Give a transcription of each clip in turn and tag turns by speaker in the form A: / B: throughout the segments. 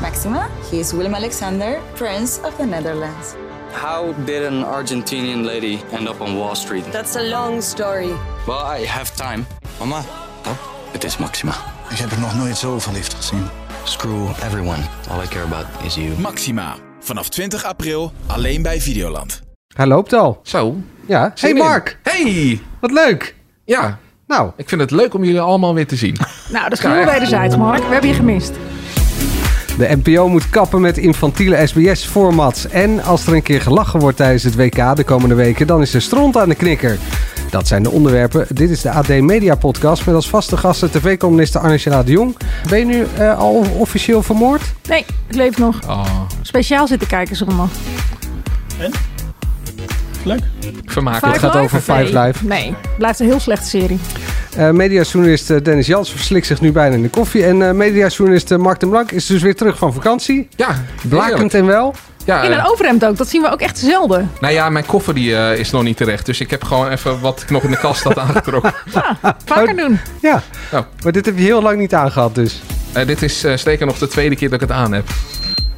A: Maxima. He is Willem Alexander, Prince of the Netherlands.
B: How did an Argentinian lady end up on Wall Street?
C: That's a long story.
B: Well, I have time.
D: Mama,
B: Het is Maxima.
E: Ik heb er nog nooit zo verliefd gezien.
B: Screw everyone. All I care about is you.
F: Maxima. Vanaf 20 april alleen bij Videoland.
G: Hij loopt al.
H: Zo.
G: Ja.
H: Zin
G: Hey
H: in.
G: Mark,
H: Hey!
G: wat leuk.
H: Ja,
G: Nou,
H: ik vind het leuk om jullie allemaal weer te zien.
I: Nou, dat is heel wederzijds, Mark. We hebben je gemist.
G: de NPO moet kappen met infantiele SBS-formats. En als er een keer gelachen wordt tijdens het WK de komende weken, dan is er stront aan de knikker. Dat zijn de onderwerpen. Dit is de AD Media Podcast met als vaste gasten tv-columniste Arne de Jong. Ben je nu eh, al officieel vermoord?
I: Nee, ik leef nog.
H: Oh,
I: Speciaal zitten kijken ze allemaal.
J: Leuk.
H: vermakelijk.
G: gaat over Five Live.
I: Nee, blijft een heel slechte serie.
G: Eh mediajournalist eh, Dennis Jans verslikt zich nu bijna in de koffie. En eh mediajournalist eh, Mark den Blank is dus weer terug van vakantie.
H: Ja,
G: Blakend
H: heerlijk.
G: en wel.
H: Ja,
I: In een
H: eh,
I: overhemd ook. Dat zien we ook echt zelden.
H: nou ja, mijn koffer die, eh, is nog niet terecht. Dus ik heb gewoon even wat ik nog in de kast had aangetrokken.
G: Oh.
I: Vaker doen.
G: Ja,
H: Nou.
G: maar dit heb je heel lang niet aangehad dus.
H: Eh, dit is eh zeker nog de tweede keer dat ik het aan heb.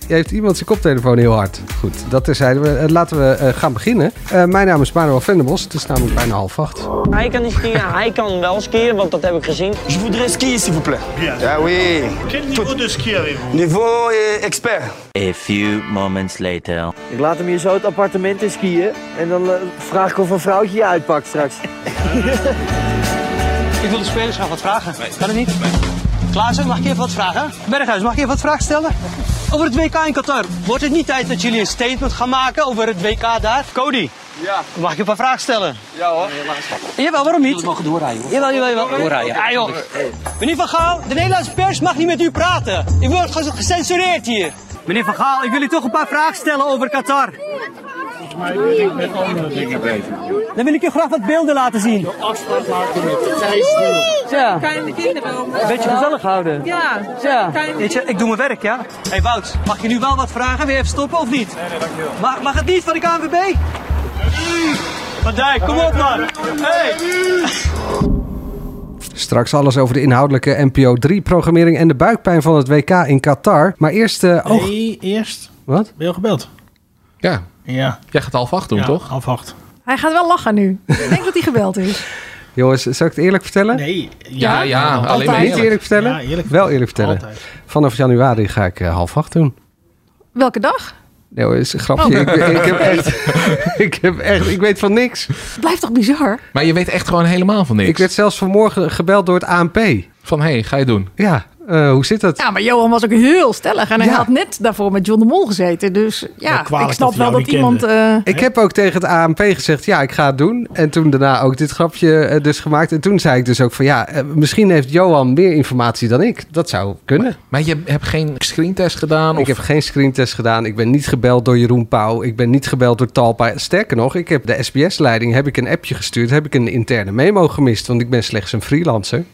G: Je heeft iemand zijn koptelefoon heel hard. Goed, dat terzijde. We- eh, Laten we eh, gaan beginnen. Eh, mijn naam is Manuel Venderbos. Het is namelijk bijna half acht.
C: Hij kan niet skiën, hij kan wel skiën, want dat heb ik gezien.
J: Je voudrais skier, s'il vous plaît.
E: Ja, oui.
J: Quel niveau de ski avez-vous
E: Niveau eh, expert.
K: A few moments later.
C: Ik laat hem hier zo het appartement in skiën. En dan eh, vraag ik of een vrouwtje je uitpakt straks.
K: Ik wil de spelers graag wat vragen. Kan het niet? Klaassen, mag ik even wat vragen? Berghuis, mag ik even wat vragen stellen? Over het WK in Qatar. Wordt het niet tijd dat jullie een statement gaan maken over het WK daar? Cody. Ja. Mag ik een paar vragen stellen? Ja hoor. Jawel, waarom niet? We mogen doorrijden hoor. Jawel, jawel, jawel. Doorrijden. Ja joh. Meneer Van Gaal, de Nederlandse pers mag niet met u praten. U wordt ge- gecensureerd hier. Meneer Van Gaal, ik wil u toch een paar vragen stellen over Qatar. Dan wil ik u graag wat beelden laten zien. Ja.
C: Kan je de kinderen wel?
K: Een beetje gezellig houden.
C: Ja.
K: Ja, weet je, ik doe mijn werk, ja. Hé hey, Wout, mag je nu wel wat vragen? Wil je even stoppen of niet? Nee, nee, dankjewel. Mag, mag het niet van de KNVB? Van Dijk, kom op man. Hey.
G: Straks alles over de inhoudelijke NPO 3-programmering en de buikpijn van het WK in Qatar. Maar eerst... eh oh,
J: Nee, eerst.
G: wat?
J: Ben je al gebeld?
H: Ja,
J: Ja.
H: jij gaat half acht doen,
J: ja,
H: toch?
J: Half acht.
I: Hij gaat wel lachen nu. Ik denk dat hij gebeld is.
G: Jongens, zal ik het eerlijk vertellen?
J: Nee.
H: Ja, ja, alleen maar
I: Altijd.
G: Niet eerlijk vertellen?
J: Ja, eerlijk
G: Wel eerlijk vertellen.
J: Altijd.
G: Vanaf januari ga ik eh, half acht doen.
I: Welke dag?
G: Nee hoor, is een grapje. Ik, ik, heb echt, ik heb echt... Ik weet van niks.
I: Het blijft toch bizar?
H: Maar je weet echt gewoon helemaal van niks.
G: Ik werd zelfs vanmorgen gebeld door het ANP.
H: Van, hé, hey, ga je doen?
G: Ja, eh, hoe zit dat?
I: Ja, maar Johan was ook heel stellig. En hij
G: Ja.
I: had net daarvoor met John de Mol gezeten. Dus
J: Wel
I: ja,
J: kwalijk
I: ik snap
J: dat hij
I: wel
J: jou
I: dat
J: niet
I: iemand... eh,
G: Ik heb ook tegen het ANP gezegd, ja, ik ga het doen. En toen daarna ook dit grapje eh, dus gemaakt. En toen zei ik dus ook van, ja, eh, misschien heeft Johan meer informatie dan ik. Dat zou kunnen.
H: Maar je hebt geen screentest gedaan?
G: Ik
H: Of...
G: heb geen screentest gedaan. Ik ben niet gebeld door Jeroen Pauw. Ik ben niet gebeld door Talpa. Sterker nog, ik heb de SBS-leiding heb ik een appje gestuurd. Heb ik een interne memo gemist, want ik ben slechts een freelancer.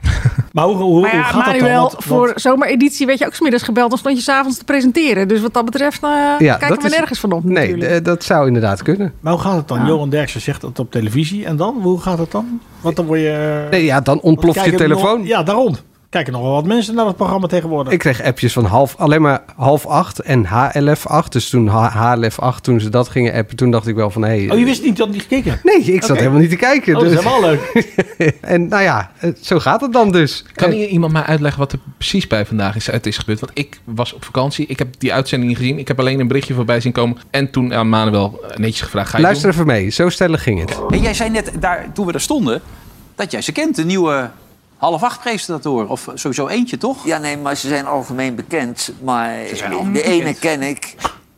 J: Maar hoe, hoe,
I: maar
J: hoe
I: ja,
J: gaat dat dan?
I: Manuel,
J: Want-
I: voor
J: want-
I: zomereditie werd je ook smiddags gebeld. Dan stond je s'avonds te presenteren. Dus wat dat betreft eh, kijken we
G: is-
I: nergens van op
G: Nee,
I: natuurlijk.
G: eh, dat zou inderdaad kunnen.
J: maar hoe gaat het dan? Johan Derksen zegt dat op televisie. En dan? Hoe gaat het dan? Want dan word je...
G: Nee, ja, dan
J: want
G: ontploft je
J: kijken
G: telefoon.
J: nog- ja, daarom. Kijken nog wel wat mensen naar het programma tegenwoordig.
G: Ik kreeg appjes van half, alleen maar half acht en HLF 8. Dus toen H- HLF 8, toen ze dat gingen appen, toen dacht ik wel van... Hey,
J: oh, je wist niet dat niet gekeken hebt?
G: Nee, ik zat
J: Oké.
G: helemaal niet te kijken.
J: Oh, dat is
G: dus-
J: helemaal leuk.
G: en nou ja, eh, zo gaat het dan dus.
H: Kan
G: En-
H: hier iemand mij uitleggen wat er precies bij vandaag is, uit is gebeurd? Want ik was op vakantie. Ik heb die uitzending niet gezien. Ik heb alleen een berichtje voorbij zien komen. En toen aan Manuel eh, netjes gevraagd. Ga je
G: Luister even mee, zo stellig ging het.
D: En jij zei net, daar, toen we daar stonden, dat jij ze kent. De nieuwe half acht presentator. Of sowieso eentje, toch?
K: Ja, nee, maar ze zijn algemeen bekend. Maar
D: zijn
K: de
D: algemeen
K: ene
D: bekend.
K: ken ik,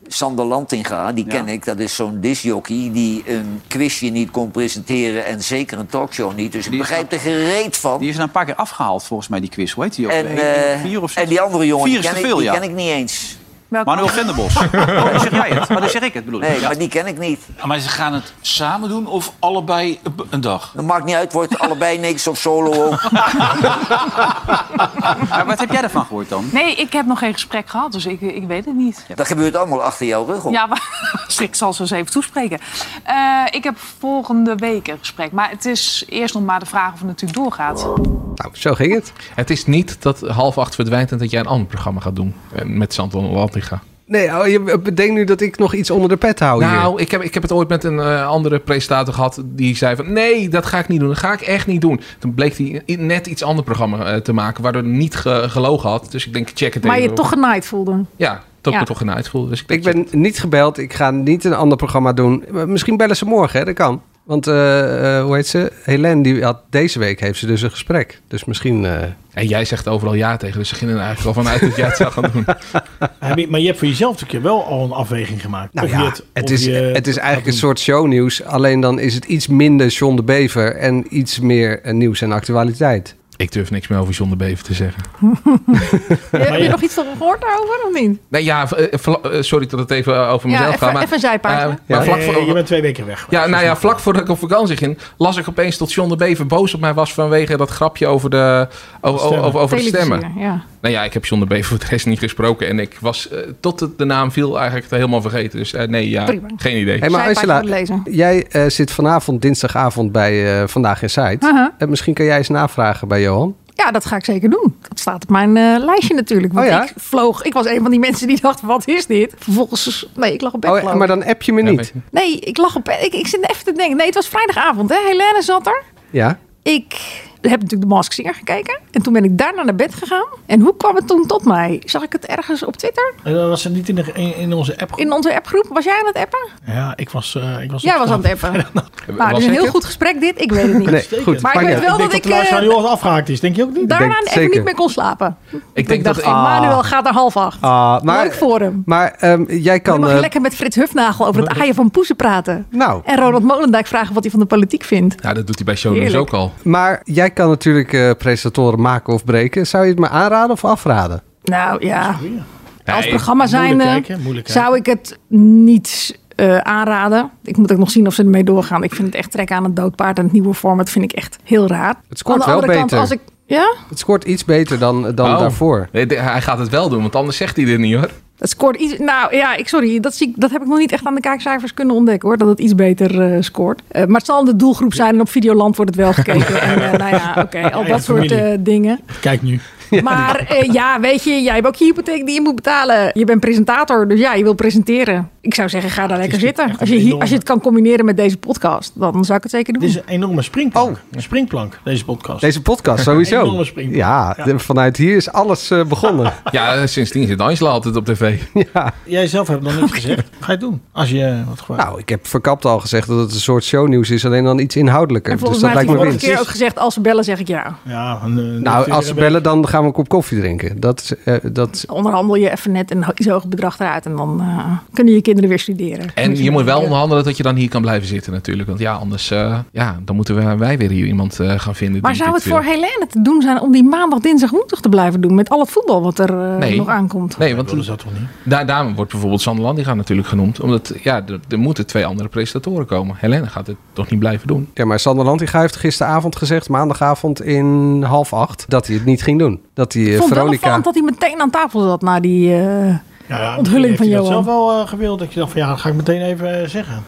K: Sander Lantinga, die ken ik. Dat is zo'n disjockey die een quizje niet kon presenteren... en zeker een talkshow niet. Dus ik
D: Die is nou-
K: begrijp er gereed van.
D: Die is er een paar keer afgehaald, volgens mij, die quiz. Hoe heet die ook?
K: en,
D: Eén,
K: eh,
D: vier of zes?
K: en die andere jongen,
D: Vier
K: die
D: is
K: ken,
D: te
K: ik,
D: veel,
K: die
D: ja.
K: ken ik niet eens.
I: Welke-
D: Manuel Venderbos. oh, dan zeg jij het. Maar dan zeg ik het, bedoel ik.
K: Nee,
D: Ja.
K: maar die ken ik niet.
J: Maar ze gaan het samen doen of allebei een dag?
K: Dat maakt niet uit, wordt allebei niks of solo ook.
D: Maar wat heb jij daarvan gehoord dan?
C: Nee, ik heb nog geen gesprek gehad, dus ik, ik weet het niet.
K: Dat gebeurt allemaal achter jouw rug op.
C: Ja, maar dus ik zal ze eens even toespreken. Eh, ik heb volgende week een gesprek. Maar het is eerst nog maar de vraag of het natuurlijk doorgaat.
G: Nou, zo ging het.
H: Het is niet dat half acht verdwijnt en dat jij een ander programma gaat doen. Eh, Met Santon Zuid-Afrika.
G: Nee, oh, je bedenkt nu dat ik nog iets onder de pet hou
I: Oh,
G: hier.
H: Nou, ik heb, ik heb het ooit met een eh, andere presentator gehad. Die zei van, nee, dat ga ik niet doen. Dat ga ik echt niet doen. Toen bleek hij i- net iets ander programma eh, te maken. Waardoor hij niet ge- gelogen had. Dus ik denk, check het
I: Maar
H: even.
I: je toch genaaid voelde.
H: Ja, dat ik
I: Ja.
H: me toch genaaid voelde. Dus ik denk,
G: Ik ben niet gebeld. Ik ga niet een ander programma doen. Maar Misschien bellen ze morgen, hè? dat kan. Want eh, eh, hoe heet ze? Helene, die had, deze week heeft ze dus een gesprek. Dus misschien... eh,
H: En jij zegt overal ja tegen. Dus ze gingen er eigenlijk al vanuit dat jij het zou gaan doen.
J: Heb je- Maar je hebt voor jezelf natuurlijk wel al een afweging gemaakt.
G: nou
J: Of
G: ja,
J: je
G: het,
J: of
G: is,
J: je-
G: het is eigenlijk een soort shownieuws. Alleen dan is het iets minder John de Bever... en iets meer eh, nieuws en actualiteit.
H: Ik durf niks meer over John de Bever te zeggen.
I: Heb je nog iets van gehoord daarover of niet?
H: Nee, ja, v- eh, vla- eh, sorry dat het even over
I: Ja,
H: mezelf
I: even-
H: gaat. Maar,
I: even een zijpaadje.
H: Eh, maar
J: Nee,
H: vlak voor,
J: je bent twee weken weg.
H: Ja, nou ja, vlak voordat ik op vakantie ging, las ik opeens dat John de Bever boos op mij was vanwege dat grapje over de, over,
J: Stemmen.
H: over, over de
I: Televisie,
H: stemmen.
I: Ja.
H: Nou ja, ik heb John de Bever voor de rest niet gesproken en ik was eh, tot het- de naam viel eigenlijk het helemaal vergeten. Dus eh, nee, ja,
I: Prima.
H: geen idee.
G: Hey, maar
I: Zijpaadje
G: Angela,
I: voor het lezen.
G: jij eh, zit vanavond, dinsdagavond bij eh, Vandaag in Zuid.
I: Aha.
G: En misschien kan jij eens navragen bij Johan.
I: Uh-huh. Ja, dat ga ik zeker doen. Dat staat op mijn eh, lijstje natuurlijk. Want
G: Oh ja?
I: ik vloog. Ik was een van die mensen die dacht, wat is dit? Vervolgens, nee, ik lag op bed.
G: Oh,
I: geloof
G: maar
I: ik.
G: dan app je me
H: Ja,
G: niet.
H: weet je.
I: Nee, ik lag op bed. Ik, ik zit even te denken. Nee, het was vrijdagavond, hè? Helene zat er.
G: Ja.
I: Ik heb natuurlijk de Mask Singer gekeken. En toen ben ik daarna naar bed gegaan. En hoe kwam het toen tot mij? Zag ik het ergens op Twitter?
J: En dan was het niet in, de, in, in onze app.
I: In onze appgroep? Was jij aan het appen?
J: Ja, ik was... eh, ik was
I: Jij
J: op
I: was aan
J: straat.
I: het appen.
H: Was
I: Nou, dit is
H: ik
I: een heel
H: het?
I: goed gesprek dit. Ik weet het niet.
G: Nee,
J: Zeker.
G: goed.
I: Maar ik
G: maakt
I: weet
G: niet
I: wel dat
J: Ik denk dat
I: ik
J: de luisteraar
I: eh,
J: nu al afgehaakt is, denk je ook niet?
I: daarna
G: denk het
I: even
G: zeker.
I: niet meer kon slapen. Ik
H: denk
I: dacht,
H: dat Ah. ik-
I: Emmanuel gaat er half acht.
G: Ah, maar-
I: Leuk voor hem.
G: Maar ehm, jij
I: Dan
G: kan.
I: mag je
G: eh,
I: lekker met Frits Hufnagel over het aaien van poezen praten.
G: Nou,
I: En Ronald Molendijk vragen wat hij van de politiek vindt.
H: Ja, dat doet hij bij Shownieuws
I: Heerlijk.
H: ook al.
G: maar jij kan natuurlijk eh, presentatoren maken of breken. Zou je het me aanraden of afraden?
I: Nou ja, als
H: Nee,
I: programma zijn eh,
J: moeilijk kijken, moeilijk
I: zou ik het niet eh, aanraden. Ik moet ook nog zien of ze ermee doorgaan. Ik vind het echt trek aan het doodpaard en het nieuwe format vind ik echt heel raar.
G: Het scoort
I: aan de
G: wel
I: andere
G: beter.
I: kant, als ik... Ja,
G: Het scoort iets beter dan, dan
H: Oh.
G: daarvoor.
H: Nee, de- hij gaat het wel doen, want anders zegt hij dit niet hoor.
I: dat scoort iets... Nou ja, ik, sorry, dat, zie ik, dat heb ik nog niet echt aan de kijkcijfers kunnen ontdekken hoor. Dat het iets beter eh, scoort. Eh, maar het zal in de doelgroep zijn en op Videoland wordt het wel gekeken. en eh, nou ja, oké, al dat soort eh,
J: familie.
I: dingen.
J: Kijk nu.
I: Maar eh, ja, weet je, jij hebt ook je hypotheek die je moet betalen. Je bent presentator, dus ja, je wil presenteren. Ik zou zeggen, ga daar lekker
J: is
I: zitten.
J: echt
I: Als
J: een
I: je, hier-
J: enorme- Dus, eh,
I: als je het kan combineren met deze podcast, dan zou ik het zeker doen.
J: Dit is een enorme springplank. Een springplank, deze podcast.
G: Deze podcast
J: Een enorme
G: sowieso.
J: springplank.
G: Ja, de- vanuit hier is alles eh, begonnen.
H: Ja, eh, sindsdien zit Angela altijd op tv.
J: Jij zelf hebt nog niks gezegd. Ga je het doen? Als je eh, wat gebruikt.
G: nou, ik heb verkapt al gezegd dat het een soort shownieuws is, alleen dan iets inhoudelijker.
I: en
G: Dus
I: volgens
G: dat
I: mij heeft
G: lijkt me
I: hij vorige
G: winst.
I: keer ook gezegd, als ze bellen zeg ik ja.
J: ja, en, eh,
G: Nou,
J: natuurlijk
G: als ze
J: hebben-
G: bellen, dan gaan we een kop koffie drinken. Dat, is, eh, dat,
I: Onderhandel je even net een ho- iets hoger bedrag eruit en dan eh, kunnen je kinderen weer studeren.
H: En
I: Dus
H: je moet wel
I: ja.
H: onderhandelen dat je dan hier kan blijven zitten natuurlijk. Want ja, anders eh, ja, dan moeten we, wij weer hier iemand eh, gaan vinden.
I: Maar
H: die
I: zou
H: dit
I: het
H: wil.
I: voor Helene te doen zijn om die maandag, dinsdag, woensdag te blijven doen? Met al het voetbal wat er eh,
H: Nee.
I: nog aankomt.
H: Nee,
J: Dat
H: want
J: is dat toch niet?
H: Daar, daar wordt bijvoorbeeld Sander Landiga natuurlijk genoemd. Omdat ja, er, er moeten twee andere presentatoren komen. Helene gaat het toch niet blijven doen.
G: ja, maar Sander Lantinga heeft gisteravond gezegd, maandagavond in half acht, dat hij het niet ging doen. Dat hij eh,
I: Ik vond het wel
G: Veronica...
I: opvallend dat hij meteen aan tafel zat na die... eh,
J: Ja, ja,
I: Onthulling
J: heeft
I: van
J: je dat
I: Johan.
J: zelf wel eh, gewild. Dat je dacht van ja, dat ga ik meteen even eh, zeggen.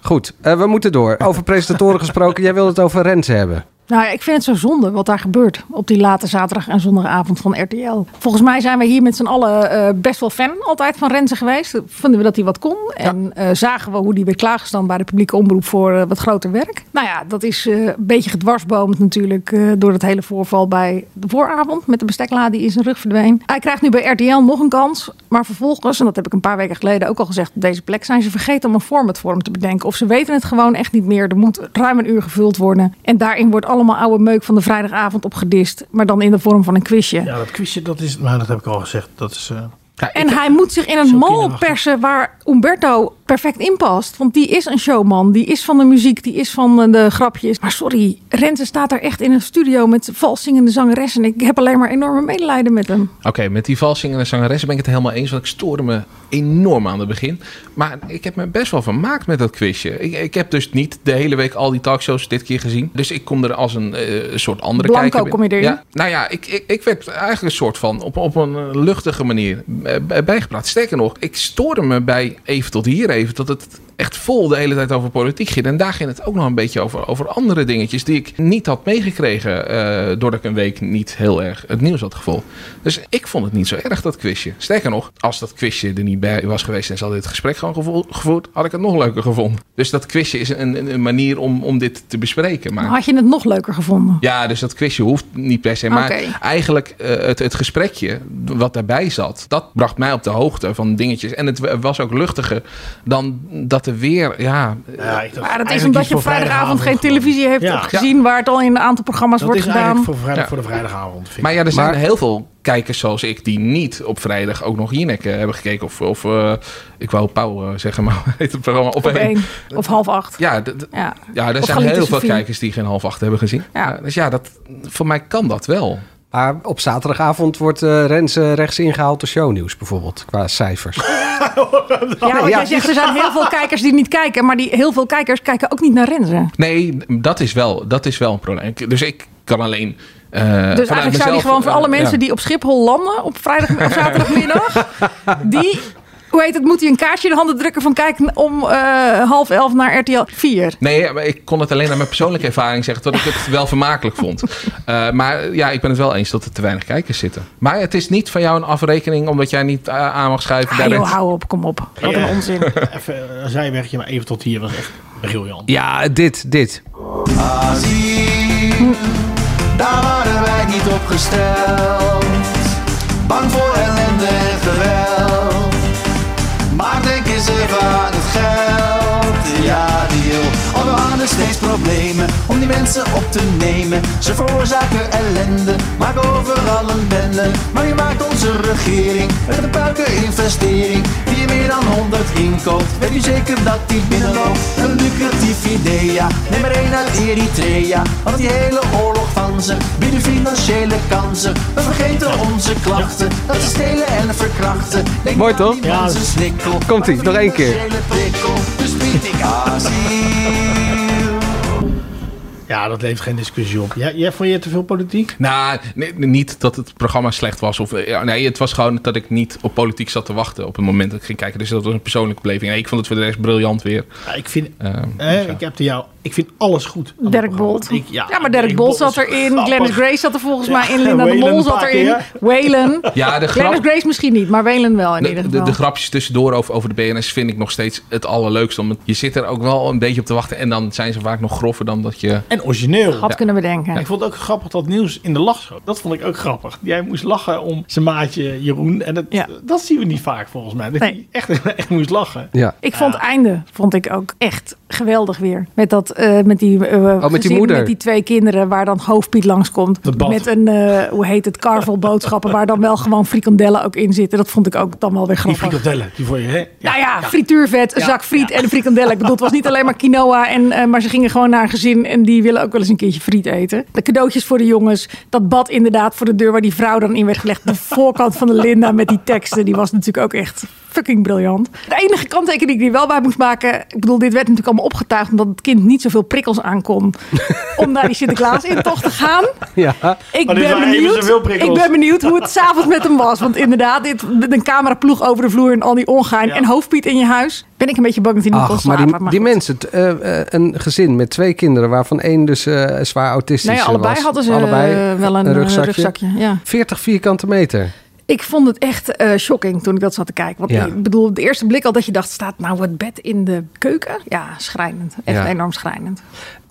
G: Goed, eh, we moeten door. Over presentatoren gesproken, jij wilde het over Rens hebben.
I: Nou ja, ik vind het zo zonde wat daar gebeurt op die late zaterdag en zondagavond van RTL. Volgens mij zijn we hier met z'n allen eh, best wel fan altijd van Renze geweest. Vonden we dat hij wat kon en eh, zagen we hoe hij weer klaargestaan bij de publieke omroep voor eh, wat groter werk. Nou ja, dat is eh, een beetje gedwarsboomd natuurlijk eh, door het hele voorval bij de vooravond met de besteklade die in zijn rug verdween. Hij krijgt nu bij RTL nog een kans, maar vervolgens, en dat heb ik een paar weken geleden ook al gezegd, op deze plek zijn ze vergeten om een format voor hem te bedenken. Of ze weten het gewoon echt niet meer. Er moet ruim een uur gevuld worden. En daarin wordt allemaal oude meuk van de vrijdagavond opgedist, maar dan in de vorm van een quizje.
J: Ja, dat quizje, dat is... Nou, dat heb ik al gezegd. Dat is... eh,
I: En hij moet zich in een
J: Zo
I: mal
J: kinderachtig.
I: persen waar Umberto perfect in past. Want die is een showman, die is van de muziek, die is van eh, de grapjes. Maar sorry, Renze staat daar echt in een studio met vals zingende zangeres. En ik heb alleen maar enorme medelijden met hem.
H: Oké, met die valsingende zangeres ben ik het helemaal eens. Want ik stoorde me enorm aan het begin. Maar ik heb me best wel vermaakt met dat quizje. Ik, ik heb dus niet de hele week al die talkshows dit keer gezien. Dus ik kom er als een eh, soort andere
I: Blanco
H: kijker. bij-
I: kom je erin?
H: Ja, nou ja, ik, ik, ik werd eigenlijk een soort van op, op een eh, luchtige manier eh, bij- bijgepraat. Sterker nog, ik stoorde me bij even tot hier even dat het echt vol de hele tijd over politiek ging. En daar ging het ook nog een beetje over, over andere dingetjes die ik niet had meegekregen. eh, doordat ik een week niet heel erg het nieuws had gevolgd. Dus ik vond het niet zo erg, dat quizje. Sterker nog, als dat quizje er niet bij was geweest en ze hadden dit gesprek gewoon gevo- gevoerd, had ik het nog leuker gevonden. Dus dat quizje is een, een, een manier om, om dit te bespreken. Maar...
I: Had je het nog leuker gevonden?
H: Ja, dus dat quizje hoeft niet per se. Maar
I: Oké.
H: eigenlijk eh, het, het gesprekje wat daarbij zat, dat bracht mij op de hoogte van dingetjes. En het w- was ook luchtiger dan dat er weer. Ja,
I: Maar dat is omdat je op vrijdagavond geen televisie hebt
H: Ja.
I: gezien waar het al in een aantal programma's wordt gedaan.
H: Ja. Maar ja, er zijn heel veel kijkers zoals ik die niet op vrijdag ook nog Jinek eh, hebben gekeken. Of, of eh, ik wou Pauw eh, zeggen, maar hoe heet het programma? Op
I: Op
H: één.
I: één. Of half acht.
H: Ja, d- d-
I: Ja.
H: ja, er
I: Of
H: zijn
I: Galite
H: heel veel
I: Sofie.
H: kijkers die geen half acht hebben gezien. Ja. dus ja, dat, voor mij kan dat wel.
G: Maar op zaterdagavond wordt eh Rens eh, rechts ingehaald door shownieuws bijvoorbeeld, qua cijfers.
I: Ja, want
G: Ja.
I: jij zegt er zijn heel veel kijkers die niet kijken. Maar die heel veel kijkers kijken ook niet naar Renze.
H: Nee, dat is wel, dat is wel een probleem. Dus ik kan alleen. eh, vanuit
I: dus eigenlijk zou die
H: mezelf,
I: gewoon voor
H: eh,
I: alle mensen
H: ja.
I: die op Schiphol landen op vrijdag of zaterdagmiddag. die, hoe heet het, moet hij een kaartje in de handen drukken van kijk om eh, half elf naar RTL 4.
H: Nee, maar ik kon het alleen naar mijn persoonlijke ervaring zeggen, dat ik het wel vermakelijk vond. Eh, maar ja, ik ben het wel eens dat er te weinig kijkers zitten. Maar het is niet van jou een afrekening omdat jij niet eh, aan mag schuiven.
I: Ah,
H: bij
I: joh,
H: Rens.
I: hou op, kom op. Wat een onzin.
J: Even een zijwegje, maar even tot hier was echt briljant.
G: Ja, dit, dit.
L: Daar waren wij niet op gesteld. Bang voor ellende en geweld. Maar denk eens even aan het geld. Ja, deal. Oh, we hadden steeds problemen om die mensen op te nemen. Ze veroorzaken ellende, maken overal een bende. Maar je maakt onze regering met een puikeninvestering. Die je meer dan 100 inkoopt, weet u zeker dat die binnenloopt. Een lucratief idee, ja. Neem er één uit Eritrea. Want die hele oorlog van ze bieden financiële kansen. We vergeten onze klachten, dat ze stelen en verkrachten. Denk
G: Mooi
L: aan
G: toch?
L: die mensen snikkel.
G: Komt ie, nog één keer.
L: dus
J: Ja, dat levert geen discussie op. Jij, jij vond je te veel politiek?
H: Nou, nee, niet dat het programma slecht was. Of, eh, ja, nee, het was gewoon dat ik niet op politiek zat te wawachten op het moment dat ik ging kijken. Dus dat was een persoonlijke beleving. Nee, ik vond het voor de rest briljant weer. Ehm,
J: ik vind,
H: ja.
J: Eh, ik heb de jou. Ik vind alles goed.
I: Dirk Bolt.
J: Ik-
I: ja, maar Dirk Bolt zat erin. Glennis Grace zat er volgens mij in. Linda de
J: Waylon
I: Mol
J: een
I: zat
J: paar
I: erin.
J: keer.
I: Waylon.
H: Ja, de grap-
I: Glennis Grace misschien niet, maar Waylon wel in ieder
H: De, de,
I: geval.
H: de grapjes tussendoor over, over de BNS vind ik nog steeds het allerleukste. Omdat je zit er ook wel een beetje op te wachten. En dan zijn ze vaak nog grover dan dat je...
J: En origineel.
I: Had kunnen bedenken.
J: Ik vond het ook grappig dat nieuws in de lachshow. Dat vond ik ook grappig. Jij moest lachen om zijn maatje Jeroen. En dat, dat zien we niet vaak volgens mij. Dat
I: Nee.
J: hij echt, echt moest lachen.
G: Ja.
I: Ik vond het einde vond ik ook echt geweldig weer. Met, dat, eh, met, die, eh,
G: Oh, die
I: gezin
G: moeder.
I: met die twee kinderen waar dan hoofdpiet langskomt.
G: Dat bad.
I: Met een, eh, hoe heet het, carvel boodschappen waar dan wel gewoon frikandellen ook in zitten. Dat vond ik ook dan wel weer
J: Die
I: grappig.
J: frikandellen, die voor je. Hè?
I: nou ja, frituurvet, een zak friet en een frikandel. Ik bedoel, het was niet alleen maar quinoa. En, eh, maar ze gingen gewoon naar een gezin en die willen ook wel eens een keertje friet eten. De cadeautjes voor de jongens. Dat bad inderdaad voor de deur waar die vrouw dan in werd gelegd. De voorkant van de Linda met die teksten. Die was natuurlijk ook echt fucking briljant. De enige kanttekening die ik er wel bij moest maken. Ik bedoel, dit werd natuurlijk allemaal opgetuigd omdat het kind niet zoveel prikkels aankon. om naar die Sinterklaas intocht te gaan.
G: Ja.
I: Ik ben, benieuwd, ik ben benieuwd hoe het s'avonds met hem was. Want inderdaad, dit, met een cameraploeg over de vloer en al die ongein. En hoofdpiet in je huis. Ben ik een beetje bang dat hij niet kon
G: Ach, maar
I: slapen.
G: die,
I: maar
G: die
I: goed.
G: mensen, t- eh, eh, een gezin met twee kinderen, waarvan één dus eh, zwaar autistisch
I: Nou ja,
G: eh,
I: allebei
G: was.
I: hadden ze eh, wel een, eh, rugzakje, ja.
G: 40 vierkante meter.
I: Ik vond het echt eh, shocking toen ik dat zat te kijken. Want
G: Ja.
I: ik bedoel, op de eerste blik al dat je dacht... staat nou het bed in de keuken? Ja, schrijnend. Echt
G: Ja.
I: enorm schrijnend.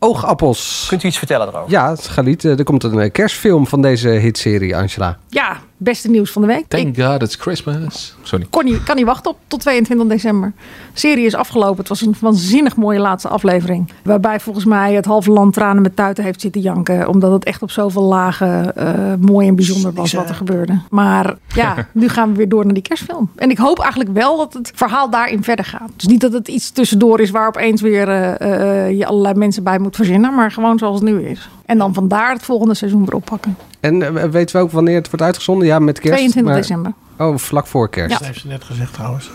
G: Oogappels. Kunt
K: u iets vertellen erover?
G: Ja, Galit, eh, er komt een eh, kerstfilm van deze hitserie, Angela.
I: Ja, beste nieuws van de week. Ik
H: Thank God it's Christmas. Sorry.
I: kon niet, kan niet wachten op, tot 22 december. De serie is afgelopen. Het was een waanzinnig mooie laatste aflevering. Waarbij volgens mij het halve land tranen met tuiten heeft zitten janken. Omdat het echt op zoveel lagen eh, mooi en bijzonder was wat er gebeurde. Maar ja, nu gaan we weer door naar die kerstfilm. En ik hoop eigenlijk wel dat het verhaal daarin verder gaat. Dus niet dat het iets tussendoor is waar opeens weer eh, eh, je allerlei mensen bij moet verzinnen. Maar gewoon zoals het nu is. En dan vandaar het volgende seizoen weer oppakken.
G: En eh, weten we ook wanneer het wordt uitgezonden? Ja, met kerst.
I: 22
G: maar-
I: december.
G: Oh, vlak voor kerst.
J: Dat heeft ze net gezegd trouwens.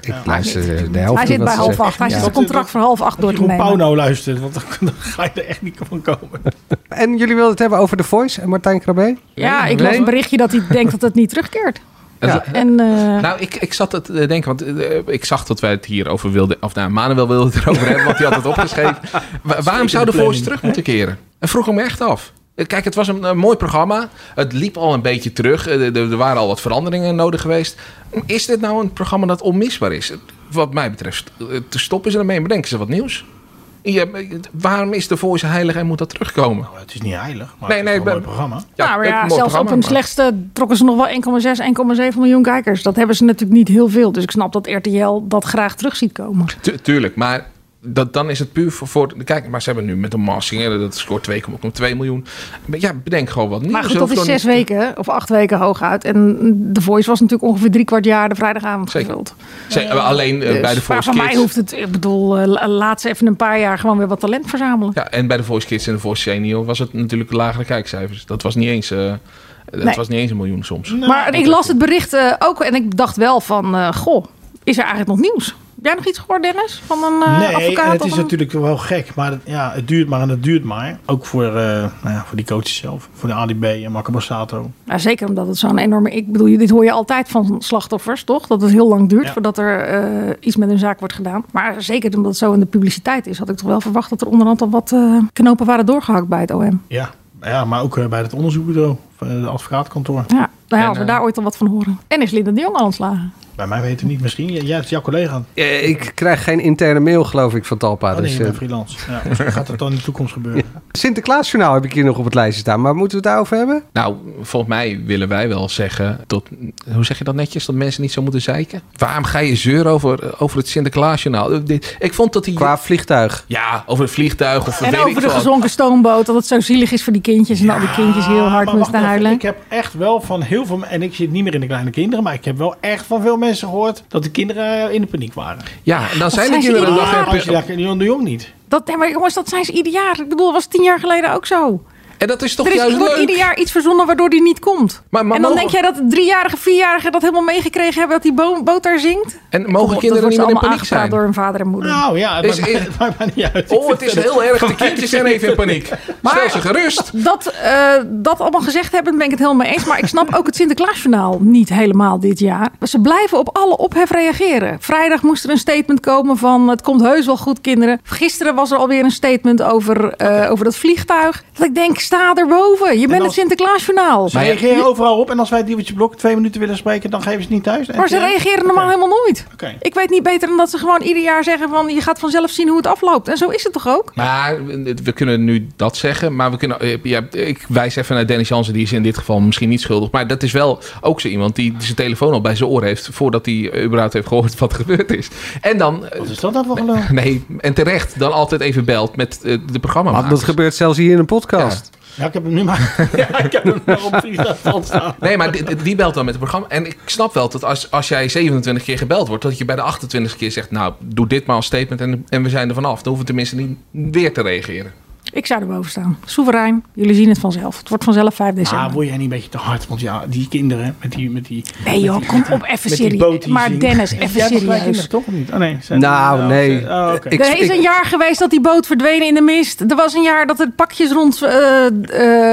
G: Ik luister eh, de helft
I: Hij zit
G: niet wat
I: bij
G: ze
I: half
G: zeggen.
I: acht. Hij
G: Ja.
I: zit het contract voor half acht door te
J: Jeroen
I: nemen.
J: Pauw nou luistert, want dan, dan ga je er echt niet van komen.
G: En jullie wilden het hebben over The Voice en Martijn Krabbe?
I: Ja, ik las een berichtje dat hij denkt dat het niet terugkeert. Ja.
H: Dat-
I: En, eh,
H: Nou, ik, ik zat het te denken, want eh, ik zag dat wij het hierover wilden, of nou, Manuel wilde het erover hebben, want die had het opgeschreven. Wa- waarom zou de
J: planning,
H: voice terug moeten keren? En vroeg ik me echt af. Eh, Kijk, het was een, eh, mooi programma. Het liep al een beetje terug. Eh, Er er waren al wat veranderingen nodig geweest. Is dit nou een programma dat onmisbaar is? Wat mij betreft, eh, te stoppen ze ermee en bedenken ze wat nieuws. Ja, maar, eh, waarom is de voice heilig en moet dat terugkomen?
J: Oh, Het is niet heilig, maar
H: Nee,
J: het
H: nee,
J: is
H: ik
J: wel
H: ben-
J: een mooi programma.
H: Ja,
I: nou, maar
H: het
I: ja,
H: mooi
I: zelfs op
H: programma,
I: hun
H: maar-
I: slechtste trokken ze nog wel 1,6, 1,7 miljoen kijkers. Dat hebben ze natuurlijk niet heel veel. Dus ik snap dat RTL dat graag terug ziet komen.
H: Tu- tuurlijk, maar dat, dan is het puur voor, voor de kijker. Maar ze hebben nu met een massing, dat scoort 2,2 miljoen. Maar ja, bedenk gewoon wat nieuws.
I: Maar goed,
H: Ze
I: dat
H: hoeft
I: is
H: gewoon
I: zes
H: niet-
I: weken of acht weken hooguit. En The Voice was natuurlijk ongeveer drie kwart jaar de vrijdagavond
H: Zeker.
I: gevuld.
H: Ze- alleen
I: Dus,
H: eh, bij de
I: maar
H: Voice
I: van mij
H: Kids.
I: hoeft het, ik bedoel, eh, la- laat ze even een paar jaar gewoon weer wat talent verzamelen.
H: Ja, en bij de Voice Kids en de Voice Senior was het natuurlijk lagere kijkcijfers. Dat was niet eens, eh, dat
I: Nee.
H: was niet eens een miljoen soms.
J: Nou,
I: maar ik las het bericht eh, ook en ik dacht wel van, eh, goh, is er eigenlijk nog nieuws? Heb jij nog iets gehoord, Dennis? Van een eh,
J: nee,
I: advocaat?
J: en het
I: of
J: is
I: een-
J: natuurlijk wel gek, maar het- ja, het duurt maar en het duurt maar. Ook voor, eh, nou ja, voor die coaches zelf, voor de ADB en Marco Borsato.
I: Nou, zeker omdat het zo'n enorme... Ik bedoel, dit hoor je altijd van slachtoffers, toch? Dat het heel lang duurt
J: Ja.
I: voordat er eh, iets met hun zaak wordt gedaan. Maar zeker omdat het zo in de publiciteit is... had ik toch wel verwacht dat er onderhand al wat eh, knopen waren doorgehakt bij het OM.
J: Ja, ja maar ook eh, bij het onderzoekbureau, van het advocaatkantoor.
I: Ja, nou ja, als we
J: eh,
I: daar ooit al wat van horen. En is Linda de Jong al ontslagen?
J: Bij mij weten niet, misschien. Jij ja, het is jouw collega.
G: Eh, Ik krijg geen interne mail, geloof ik, van Talpa.
J: Oh, nee,
G: dus,
J: je
G: eh,
J: bent freelance. Ja, misschien gaat dat dan in de toekomst gebeuren?
G: Sinterklaasjournaal heb ik hier nog op het lijstje staan. Maar moeten we het daarover hebben?
H: Nou, volgens mij willen wij wel zeggen dat, hoe zeg je dat netjes, dat mensen niet zo moeten zeiken? Waarom ga je zeuren over, eh, over het Sinterklaasjournaal? Eh, dit- Ik vond dat die... Qua
G: vliegtuig.
H: Ja, over het vliegtuig of weet
I: En
H: ik
I: over de
H: wat.
I: gezonken stoomboot, dat het zo zielig is voor die kindjes. En al die kindjes heel hard
J: Ah, Maar wacht
I: moesten
J: even,
I: huilen.
J: Ik heb echt wel van heel veel... En ik zit niet meer in de kleine kinderen, maar ik heb wel echt van veel mensen gehoord... dat de kinderen eh, in de paniek waren.
H: Ja, dan
I: zijn de zijn ze kinderen
J: nog...
I: idioot? nog-
J: als je daar Leon de Jong niet.
I: Dat, nee, maar jongens, dat zijn ze ieder jaar. Ik bedoel, dat was tien jaar geleden ook zo.
H: En dat is toch
I: er is,
H: juist
I: wordt
H: leuk?
I: ieder jaar iets verzonnen waardoor die niet komt.
H: Maar- maar
I: en dan
H: mogen-
I: denk jij dat driejarigen, vierjarigen dat helemaal meegekregen hebben... dat die bo- boot daar zingt?
H: En
I: Kom op,
H: mogen
I: dat
H: kinderen
I: wordt
H: niet
I: ze
H: meer in
I: allemaal
H: paniek
I: aangepraat
H: zijn?
I: door hun vader en moeder.
J: Nou ja,
H: Is-
J: maar-
H: is-
J: maakt mij niet uit.
H: Oh, het is heel erg. De kindjes zijn even in paniek. Stel ze gerust.
I: Dat, eh, dat allemaal gezegd hebben, ben ik het helemaal mee eens. Maar ik snap ook het Sinterklaasjournaal niet helemaal dit jaar. Ze blijven op alle ophef reageren. Vrijdag moest er een statement komen van... het komt heus wel goed, kinderen. Gisteren was er alweer een statement over, eh, over dat vliegtuig. Dat ik denk, sta erboven. Je bent het Sinterklaasjournaal.
J: Ze reageren overal op en als wij het Diewertje Blok twee minuten willen spreken, dan geven ze het niet thuis.
I: Maar ze reageren normaal helemaal nooit.
J: Oké.
I: Ik weet niet beter dan dat ze gewoon ieder jaar zeggen van... je gaat vanzelf zien hoe het afloopt. En zo is het toch ook?
H: Maar eh, we we kunnen nu dat zeggen. Maar we kunnen, eh, ja, ik wijs even naar Dennis Jansen. Die is in dit geval misschien niet schuldig. Maar dat is wel ook zo iemand die zijn telefoon al bij zijn oor heeft. voordat hij eh, überhaupt heeft gehoord wat er gebeurd is. En dan. Wat
J: is dat dan voor geloof?
H: Nee, en terecht dan altijd even belt met eh, de programma.
G: Want dat gebeurt zelfs hier in een podcast.
J: Ja, ik heb hem nu maar. ja, ik heb hem maar op vliegtuig staan.
H: Nee, maar die, die belt dan met het programma. En ik snap wel dat als, als jij 27 keer gebeld wordt, dat je bij de 28 keer zegt: Nou, doe dit maar als statement en, en we zijn er vanaf. Dan hoeven we tenminste niet weer te reageren.
I: Ik zou erboven staan. Soeverein. Jullie zien het vanzelf. Het wordt vanzelf 5 december.
J: Ah, word jij niet een beetje te hard? Want ja, die kinderen met die... Met die
I: Nee joh, kom op, even serieus. Maar Dennis, even serieus.
J: toch niet? Oh nee. zijn-
G: Nou,
J: oh,
G: nee.
J: ze- oh, oké.
I: er is een jaar geweest dat die boot verdwenen in de mist. Er was een jaar dat er pakjes rond eh,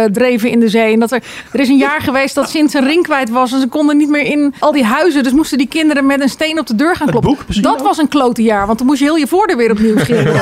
I: eh, dreven in de zee. En dat er, er is een jaar geweest dat Sint zijn ring kwijt was. En ze konden niet meer in al die huizen. Dus moesten die kinderen met een steen op de deur gaan kloppen. dat was een klote jaar. Want toen moest je heel je voordeur weer opnieuw schilderen.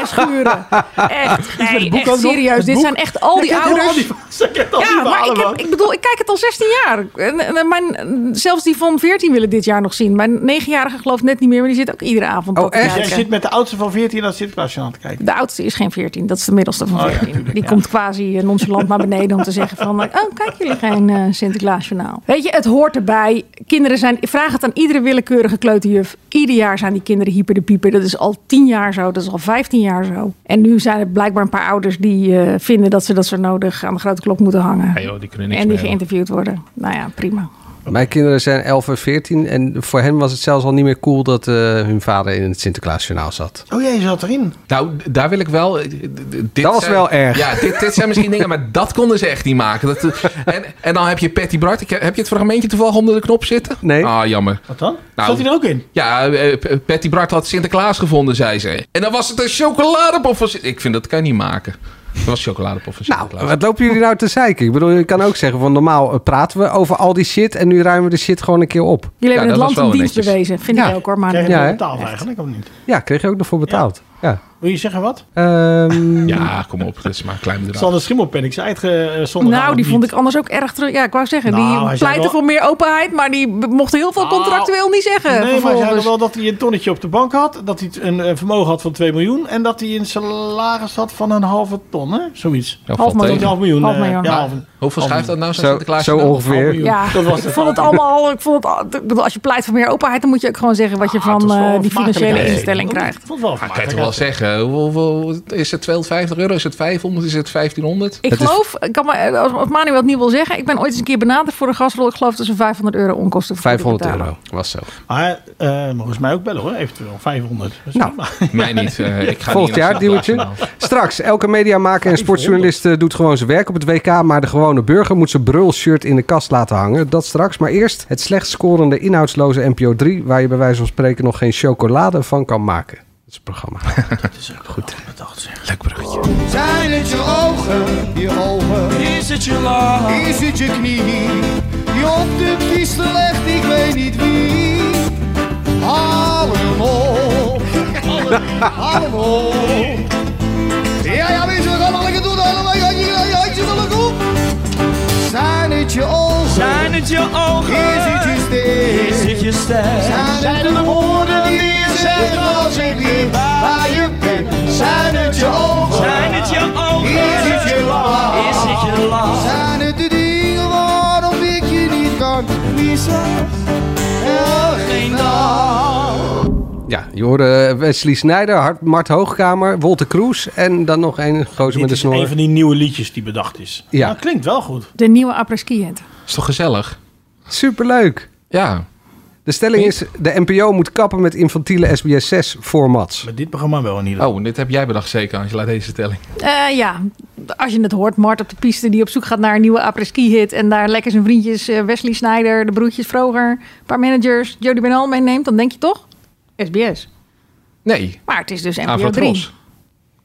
I: en schuren. Echt,
J: met
I: nee,
J: het boek ook
I: echt
J: nog?
I: serieus.
J: Het
I: Dit
J: boek?
I: zijn echt al
J: Jij
I: die
J: kent helemaal
I: ouders.
J: die- Ze kent al die
I: Ja, maar
J: verhalen,
I: ik, heb,
J: man.
I: ik bedoel, ik kijk het al 16 jaar. En, en- en mijn, en zelfs die van 14 willen dit jaar nog zien. Mijn 9-jarige gelooft net niet meer, maar die zit ook iedere avond. dat te
J: Jij
I: kijken.
J: zit met de oudste van 14 naar Sinterklaasje aan te kijken.
I: De oudste is geen 14, dat is de middelste van
J: Oh ja,
I: 14. die komt quasi eh, nonchalant naar beneden om te zeggen van... eh, oh, kijk jullie geen eh Sinterklaasjournaal. Weet je, het hoort erbij. Kinderen zijn... Vraag het aan iedere willekeurige kleuterjuf. Ieder jaar zijn die kinderen hyper de pieper. Dat is al 10 jaar zo, dat is al 15 jaar zo. En nu zijn er blijkbaar een paar ouders die eh, vinden dat ze dat zo nodig aan de grote klok moeten hangen.
H: Ja, joh, die kunnen niks
I: en die
H: meer, hoor.
I: geïnterviewd worden. Nou ja, prima.
G: Mijn kinderen zijn 11 en 14. En voor hen was het zelfs al niet meer cool dat eh, hun vader in het Sinterklaasjournaal zat.
J: Oh jij zat erin.
H: Nou, d- daar wil ik wel. d- d- Dit
G: Dat was
H: zijn-
G: wel erg.
H: Ja, dit, dit zijn misschien dingen, maar dat konden ze echt niet maken. Dat, eh, en, en dan heb je Patty Bart. Ik- Heb je het fragmentje toevallig onder de knop zitten? Nee. Ah, jammer.
J: Wat dan?
H: Nou,
J: Zat hij er ook in?
H: Ja, eh, P- Patty Bart had Sinterklaas gevonden, zei ze. En dan was het een chocoladepop van Sint- Ik vind dat kan je niet maken. Dat was chocoladepof en chocolade.
G: Nou, Wat lopen jullie nou te zeiken? Ik bedoel, je kan ook zeggen van normaal eh, praten we over al die shit en nu ruimen we de shit gewoon een keer op.
I: Jullie hebben het land in dienst bewezen. Vind ik ook hoor. Maar
G: Krijgen we Ja, hè?
J: Taal eigenlijk of niet?
G: Ja, kreeg je ook nog voor betaald. Ja. Ehm,
J: Wil je zeggen wat?
H: ja, kom op. Dat is maar een klein bedrag.
J: Zal de schimmelpennings uitgezonden
I: Nou, die vond ik anders ook erg terug. Ja, ik wou zeggen,
J: Nou, hij
I: die
J: zei
I: pleitte
J: wel- Nou,
I: voor meer openheid, maar die b- mocht heel veel contractueel niet zeggen.
J: Nee, maar
I: Eh, vervolgens.
J: zeiden wel dat hij een tonnetje op de bank had. Dat hij een, eh, vermogen had van 2 miljoen. En dat hij een salaris had van een halve ton, hè? Zoiets.
H: Ja, valt tegen.
J: Een half miljoen.
I: Half
J: eh,
I: miljoen.
J: ja,
I: Maar
J: half-
H: Hoeveel
J: half
H: schuift dat nou?
J: miljoen.
H: Zo, Sinterklaasje nou? Half miljoen.
I: Ja,
J: Dat was
I: ik vond het allemaal. Ik vond het, al- ik bedoel, als je pleit voor meer openheid, dan moet je ook gewoon zeggen
J: Ah,
I: wat je van eh, die financiële
H: Nee.
I: instelling krijgt.
H: Maar Ah, kan je toch wel zeggen, hoeveel, hoeveel- is het 250 euro, is het 500, is het 1500?
I: Ik geloof, ik kan maar, als als Manuel het niet wil zeggen, ik ben ooit eens een keer benaderd voor een gasrol. Ik geloof dat ze 500 euro onkosten betalen.
H: Was zo.
J: Maar eh mogen ze mij ook bellen hoor, eventueel. 500.
G: Nou,
H: Mij niet. eh, ik ga
G: Volgend
H: niet
G: jaar, dealtje. Straks, elke mediamaker en sportjournalist eh, doet gewoon zijn werk op het WK. Maar de gewone burger moet zijn brul-shirt in de kast laten hangen. Dat straks. Maar eerst het slecht scorende inhoudsloze NPO 3. Waar je bij wijze van spreken nog geen chocolade van kan maken. Dat is het programma. Dat
J: is ook goed.
G: Leuk bruggetje.
L: Zijn het je ogen, je ogen? Is het je lach? Is het je knie? Die op de kies legt, ik weet niet wie. Haal hem op, haal hem op. Ja, ja, weet je, we gaan nog lekker doen. Allemaal je handjes, je handjes nog lekker op. Zijn het je ogen? Zijn het je ogen? Is het je stem? Is het je stem? Zijn het de woorden die je zegt als ik weer bij je ben? Zijn het je ogen?
K: Zijn het je ogen?
L: Is het je lach?
K: Is het je lach?
L: Zijn het de dingen waarop ik je niet kan missen? Ja, geen dag.
G: Ja, je hoorde eh, Wesley Snijder, Hart- Mart Hoogkamer, Wolter Kroes. En dan nog één gozer met
J: Dit
G: de
J: is een
G: snor.
J: van die nieuwe liedjes die bedacht is.
G: dus Ja.
J: Nou, klinkt wel goed.
I: De nieuwe apres-ski
H: Is toch gezellig?
G: Superleuk.
H: Ja.
G: De stelling is, de NPO moet kappen met infantiele SBS6-formats.
J: Met dit programma wel in ieder
H: Oh, dit heb jij bedacht zeker, Angela, deze stelling.
I: Eh, ja, als je het hoort, Mart op de piste die op zoek gaat naar een nieuwe apres-ski-hit. En daar lekker zijn vriendjes eh, Wesley Snyder, de broertjes Vroger, een paar managers, Jody Benal meeneemt. Dan denk je toch, SBS.
H: Nee.
I: Maar het is dus NPO 3.
H: Avatros.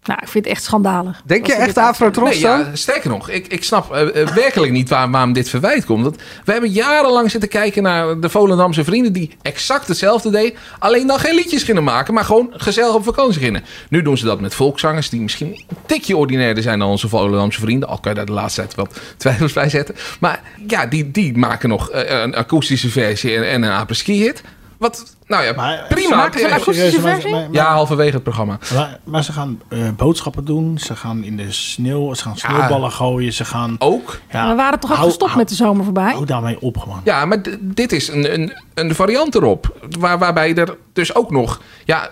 I: Nou, ik vind het echt schandalig.
G: Denk
I: Als ze dit
H: Nee, ja, sterker nog, ik, ik snap eh, eh, werkelijk niet waar, waarom dit verwijt komt. Want we hebben jarenlang zitten kijken naar de Volendamse vrienden... die exact hetzelfde deden, alleen dan geen liedjes gingen maken... maar gewoon gezellig op vakantie gingen. Nu doen ze dat met volkszangers die misschien een tikje ordinairder zijn... dan onze Volendamse vrienden, al kan je daar de laatste tijd wat twijfels bij zetten. Maar ja, die, die maken nog eh, een akoestische versie en, en een apres-ski-hit... Wat, nou ja, prima.
J: maken eh, ze een akoestische Serieus, maar- versie? maar- maar-
H: ja, halverwege het programma.
J: Maar, maar ze gaan eh, boodschappen doen. Ze gaan in de sneeuw. Ze gaan sneeuwballen gooien. Ze gaan...
H: Ook?
J: Ja,
I: We waren toch ook
J: hou-
I: gestopt met de zomer voorbij?
J: Hou daarmee op gewoon.
H: Ja, maar d- dit is een, een, een variant erop. Waar, waarbij er dus ook nog... Ja,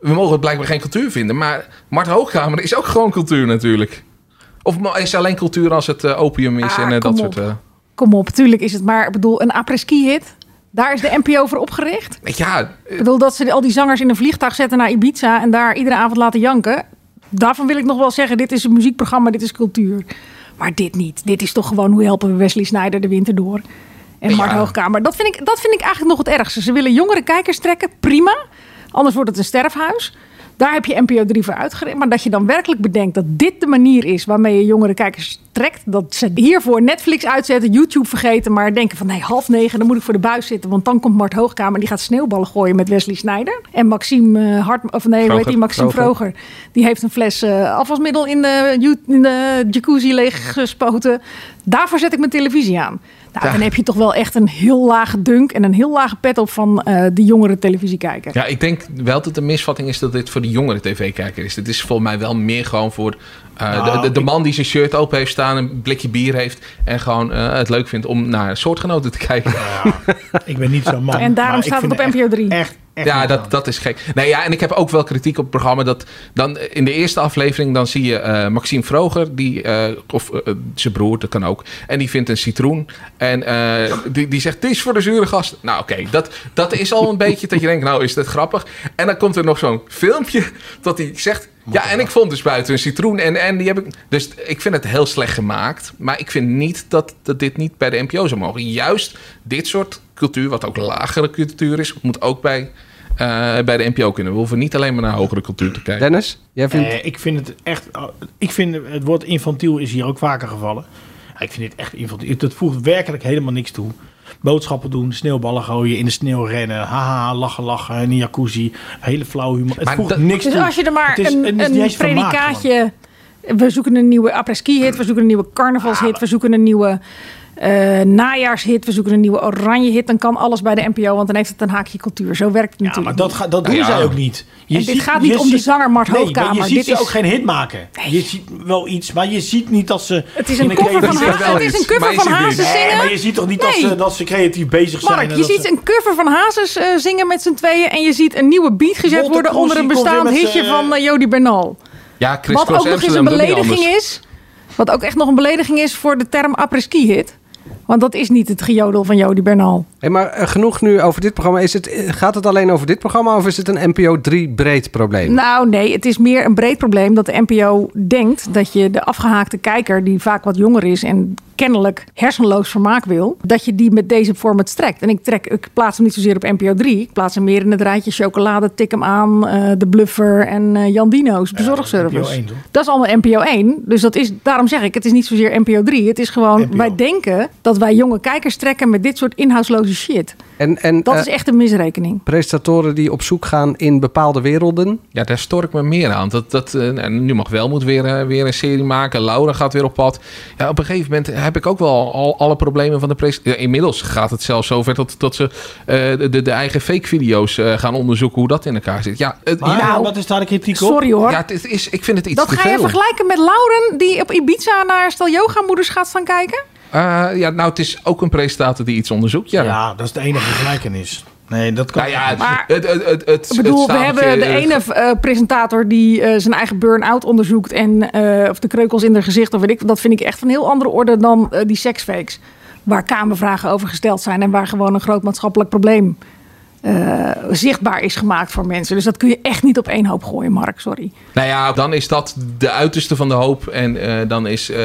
H: we mogen het blijkbaar geen cultuur vinden. Maar Mart Hoogkamer is ook gewoon cultuur natuurlijk. Of ma- is alleen cultuur als het eh, opium is en eh,
I: kom
H: dat
I: op.
H: soort... eh,
I: Kom op, tuurlijk is het maar, ik bedoel, een apres-ski-hit. Daar is de NPO voor opgericht.
H: ja, eh,
I: Ik bedoel, dat ze al die zangers in een vliegtuig zetten naar Ibiza... en daar iedere avond laten janken. Daarvan wil ik nog wel zeggen, dit is een muziekprogramma, dit is cultuur. Maar dit niet. Dit is toch gewoon, hoe helpen we Wesley Snyder de winter door? En Mart
M: Ja.
I: Hoogkamer. Dat vind, ik, dat vind ik eigenlijk nog het ergste. Ze willen jongere kijkers trekken, prima. Anders wordt het een sterfhuis. Daar heb je NPO 3 voor uitgericht. Maar dat je dan werkelijk bedenkt dat dit de manier is... waarmee je jongere kijkers trekt. Dat ze hiervoor Netflix uitzetten, YouTube vergeten... maar denken van, nee, half negen, dan moet ik voor de buis zitten. Want dan komt Mart Hoogkamer en die gaat sneeuwballen gooien met Wesley Snijder. En Maxime eh, Hart... Of nee, hoe heet
M: Vroger.
I: die? Maxime
M: Vroger.
I: Vroger. Die heeft een fles eh, afwasmiddel in de, ju- in de jacuzzi leeggespoten. Daarvoor zet ik mijn televisie aan. Nou,
H: Ja.
I: Dan heb je toch wel echt een heel lage dunk en een heel lage pet op van eh de jongere televisiekijker.
H: ja, ik denk wel dat de misvatting is dat dit voor de jongere tv-kijker is. Dit is volgens mij wel meer gewoon voor eh, de,
J: Nou,
H: de, de man die zijn shirt open heeft staan... een blikje bier heeft en gewoon eh, het leuk vindt om naar soortgenoten te kijken.
J: Ik ben niet zo'n man.
I: en daarom
J: maar
I: staat
J: ik
I: het op
J: vind
I: NPO 3.
J: Echt, echt
H: ja, dat, dat is gek. Nee, ja, en ik heb ook wel kritiek op het programma. Dat dan eh, in de eerste aflevering dan zie je eh, Maxime Vroger, die, eh, of eh, eh, zijn broer, dat kan ook. En die vindt een citroen. En eh, die, die zegt: Dit is voor de zure gast. Nou, oké, dat, dat is al een beetje dat je denkt: Nou, is dat grappig? En dan komt er nog zo'n filmpje dat hij zegt. Ja, en ik vond dus buiten een citroen en, en die heb ik... Dus ik vind het heel slecht gemaakt. Maar ik vind niet dat, dat dit niet bij de NPO zou mogen. Juist dit soort cultuur, wat ook lagere cultuur is... moet ook bij eh, bij de NPO kunnen. We hoeven niet alleen maar naar hogere cultuur te kijken.
G: Dennis, jij vindt...
J: Eh, ik vind het echt. Ik vind het woord infantiel is hier ook vaker gevallen. Ja, ik vind dit echt infantiel. Dat voegt werkelijk helemaal niks toe. Boodschappen doen, sneeuwballen gooien, in de sneeuw rennen, haha, lachen, lachen, in een jacuzzi, hele flauw humor. Het
H: Maar
J: voegt
H: dat-
J: niks
I: Dus
J: toe.
I: als je er maar
J: Het is- het
I: een,
J: is niet
I: een
J: eens vermaak,
I: predicaatje... We zoeken een nieuwe apres-ski-hit, we zoeken een nieuwe carnavalshit... we zoeken een nieuwe eh, najaarshit, we zoeken een nieuwe oranje-hit... dan kan alles bij de NPO, want dan heeft het een haakje cultuur. Zo werkt het
J: Ja, maar
I: natuurlijk Nou
J: dat, ga, dat doen
H: Ja.
J: zij ook niet.
I: En dit gaat niet
J: je
I: om de zanger Mart
J: nee, maar
I: Hoogkamer.
J: je ziet
I: Dit
J: ze
I: is-
J: ook geen hit maken. Je ziet wel iets, maar je ziet niet dat ze...
I: Het is een
J: in
I: cover van
J: creatieve-
I: Hazen, het is een cover van Hazen zingen.
J: Nee, maar je ziet toch niet dat,
I: Nee.
J: ze, dat ze creatief bezig zijn.
I: Mark,
J: en
I: je
J: dat
I: ziet
J: ze-
I: een cover van Hazes eh, zingen met z'n tweeën... en je ziet een nieuwe beat gezet
J: Walter
I: worden onder
J: Crossie
I: een
J: komt weer
I: bestaand
J: met
I: hitje
J: z'n-
I: van eh, Jody Bernal.
H: Ja, Chris
I: wat
H: Cross
I: ook nog eens een
H: Amsterdam doet niet
I: belediging
H: anders.
I: is. Wat ook echt nog een belediging is voor de term apres-ski-hit. Want dat is niet het gejodel van Jody Bernal.
G: Hey, maar eh, genoeg nu over dit programma. Is het, eh, gaat het alleen over dit programma of is het een NPO 3 breed probleem?
I: Nou nee, het is meer een breed probleem dat de NPO denkt dat je de afgehaakte kijker, die vaak wat jonger is en kennelijk hersenloos vermaak wil, dat je die met deze format strekt. En ik, trek, ik plaats hem niet zozeer op NPO 3, ik plaats hem meer in het rijtje chocolade, tik hem aan, eh, de bluffer en eh Jan Dino's bezorgservice.
J: NPO 1 toch?
I: Dat is allemaal NPO 1. Dus dat is, daarom zeg ik, het is niet zozeer NPO 3. Het is gewoon, wij denken dat wij jonge kijkers trekken met dit soort inhoudsloze shit.
G: En, en
I: Dat
G: eh,
I: is echt een misrekening.
G: presentatoren die op zoek gaan in bepaalde werelden.
H: Ja, daar stoor ik me meer aan. Dat, dat, eh, nou, nu mag wel moet weer, eh, weer een serie maken. Laura gaat weer op pad. Ja, op een gegeven moment heb ik ook wel al, alle problemen van de pres. Ja, inmiddels gaat het zelfs zover dat, dat ze eh, de, de eigen fake video's eh, gaan onderzoeken hoe dat in elkaar zit. Ja, het,
J: Maar
H: ja,
J: wat is daar de kritiek op?
I: Nou. Sorry hoor.
H: ja, het is, ik vind het iets
I: Dat
H: te
I: ga je
H: veel.
I: vergelijken met Lauren die op Ibiza naar stel yogamoeders gaat staan kijken?
H: Eh, ja, nou, het is ook een presentator die iets onderzoekt. Ja,
J: Ja, dat is de enige gelijkenis. Nee, dat kan
H: Nou ja, het,
I: Maar-
H: het, het, het, het-
I: Ik bedoel,
H: het
I: we
H: stapeltje,
I: hebben de
H: eh,
I: ene eh, presentator die eh, zijn eigen burn-out onderzoekt en eh, of de kreukels in haar gezicht of weet ik. Dat vind ik echt van heel andere orde dan eh, die seksfakes. Waar kamervragen over gesteld zijn en waar gewoon een groot maatschappelijk probleem eh, zichtbaar is gemaakt voor mensen. Dus dat kun je echt niet op één hoop gooien, Mark. Sorry.
H: Nou ja, dan is dat de uiterste van de hoop. En eh, dan is eh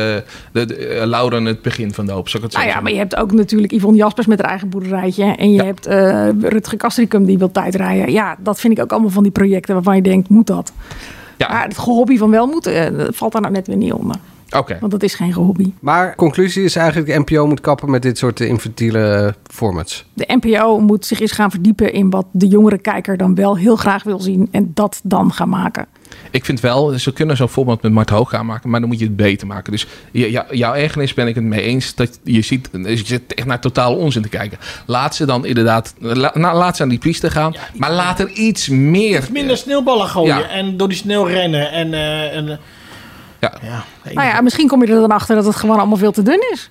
H: de, de- eh, Lauren het begin van de hoop. Zal ik het zo
I: Nou ja,
H: zeggen?
I: maar je hebt ook natuurlijk Yvonne Jaspers met haar eigen boerderijtje. En je hebt eh Rutger Kastricum die wil tijdrijden. Ja, dat vind ik ook allemaal van die projecten waarvan je denkt, moet dat?
H: Ja.
I: Maar het gehobby van wel moet, eh, dat valt daar nou net weer niet onder.
H: Oké.
I: Want dat is geen gehobby.
G: Maar conclusie is eigenlijk NPO moet kappen met dit soort eh, infantiele eh, formats.
I: De NPO moet zich eens gaan verdiepen in wat de jongere kijker dan wel heel graag wil zien. En dat dan gaan maken.
H: Ik vind wel, ze kunnen zo'n voorbeeld met Mart Hoogga maken, maar dan moet je het beter maken. Dus je- jou- jouw ergernis ben ik het mee eens. Dat je ziet, je zit echt naar totaal onzin te kijken. Laat ze dan inderdaad, la- nou, laat ze aan die piste gaan, maar laat er iets meer.
J: Minder sneeuwballen gooien
H: Ja.
J: en door die sneeuw rennen. En, eh, en, eh,
H: Ja.
J: ja, nee,
I: Nou ja, misschien kom je er dan achter dat het gewoon allemaal veel te dun is.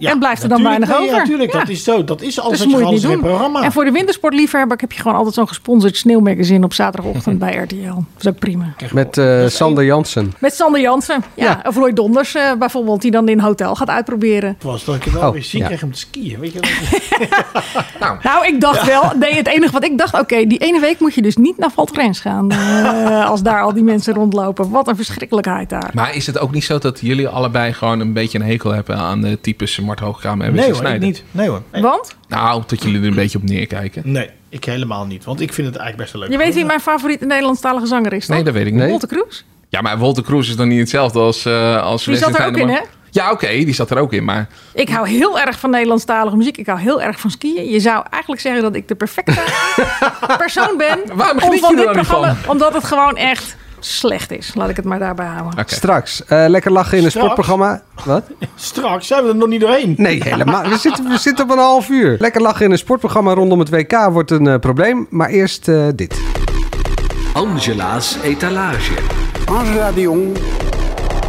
J: Ja,
I: en blijft er dan
J: natuurlijk,
I: weinig
J: nee,
I: over.
J: natuurlijk,
I: Ja.
J: dat is zo. Dat is alles
I: Dus
J: wat
I: moet je
J: je
I: het niet
J: alles in het
I: doen.
J: programma.
I: En voor de wintersportliefhebber heb je gewoon altijd zo'n gesponsord sneeuwmagazine op zaterdagochtend bij RTL. Dat is ook prima.
G: Met eh, Sander Jansen.
I: Met Sander Jansen. Ja. Of Roy Donders eh, bijvoorbeeld, die dan in een hotel gaat uitproberen.
J: was dat ik het alweer
G: Oh,
J: ziek
G: ja.
J: kreeg om te skiën. Weet je wel?
I: Nou, ik dacht wel. Nee, het enige wat ik dacht, oké, die ene week moet je dus niet naar Valtrens gaan. eh, als daar al die mensen rondlopen. Wat een verschrikkelijkheid daar.
H: Maar is het ook niet zo dat jullie allebei gewoon een beetje een hekel hebben aan de types Mart Hoogga en
J: Nee
H: Wesley
J: hoor, ik
H: Snijder?
J: niet. Nee hoor. Nee.
I: Want
H: Nou, dat jullie er een beetje op neerkijken.
J: Nee, ik helemaal niet. Want ik vind het eigenlijk best wel leuk.
I: je weet wie mijn favoriete Nederlandstalige zanger is, toch?
H: Nee, dat weet ik niet.
I: Wolter Kroes.
H: Ja, maar Wolter Kroes is dan niet hetzelfde als, eh als
I: Die zat er ook in, hè?
H: Ja, oké, die zat er ook in, maar...
I: Ik hou heel erg van Nederlandstalige muziek. Ik hou heel erg van skiën. Je zou eigenlijk zeggen dat ik de perfecte persoon ben.
H: Waarom
I: om
H: geniet
I: van
H: je
I: dit
H: er dan niet van?
I: programma, omdat het gewoon echt slecht is. Laat ik het maar daarbij houden.
H: Oké.
G: Straks. eh, lekker lachen in een
J: Straks?
G: sportprogramma. Wat?
J: Straks zijn we er nog niet doorheen.
G: Nee, helemaal. We zitten, we zitten op een half uur. Lekker lachen in een sportprogramma rondom het WK wordt een eh, probleem. Maar eerst eh, dit.
M: Angela's etalage.
N: Angela de Jong.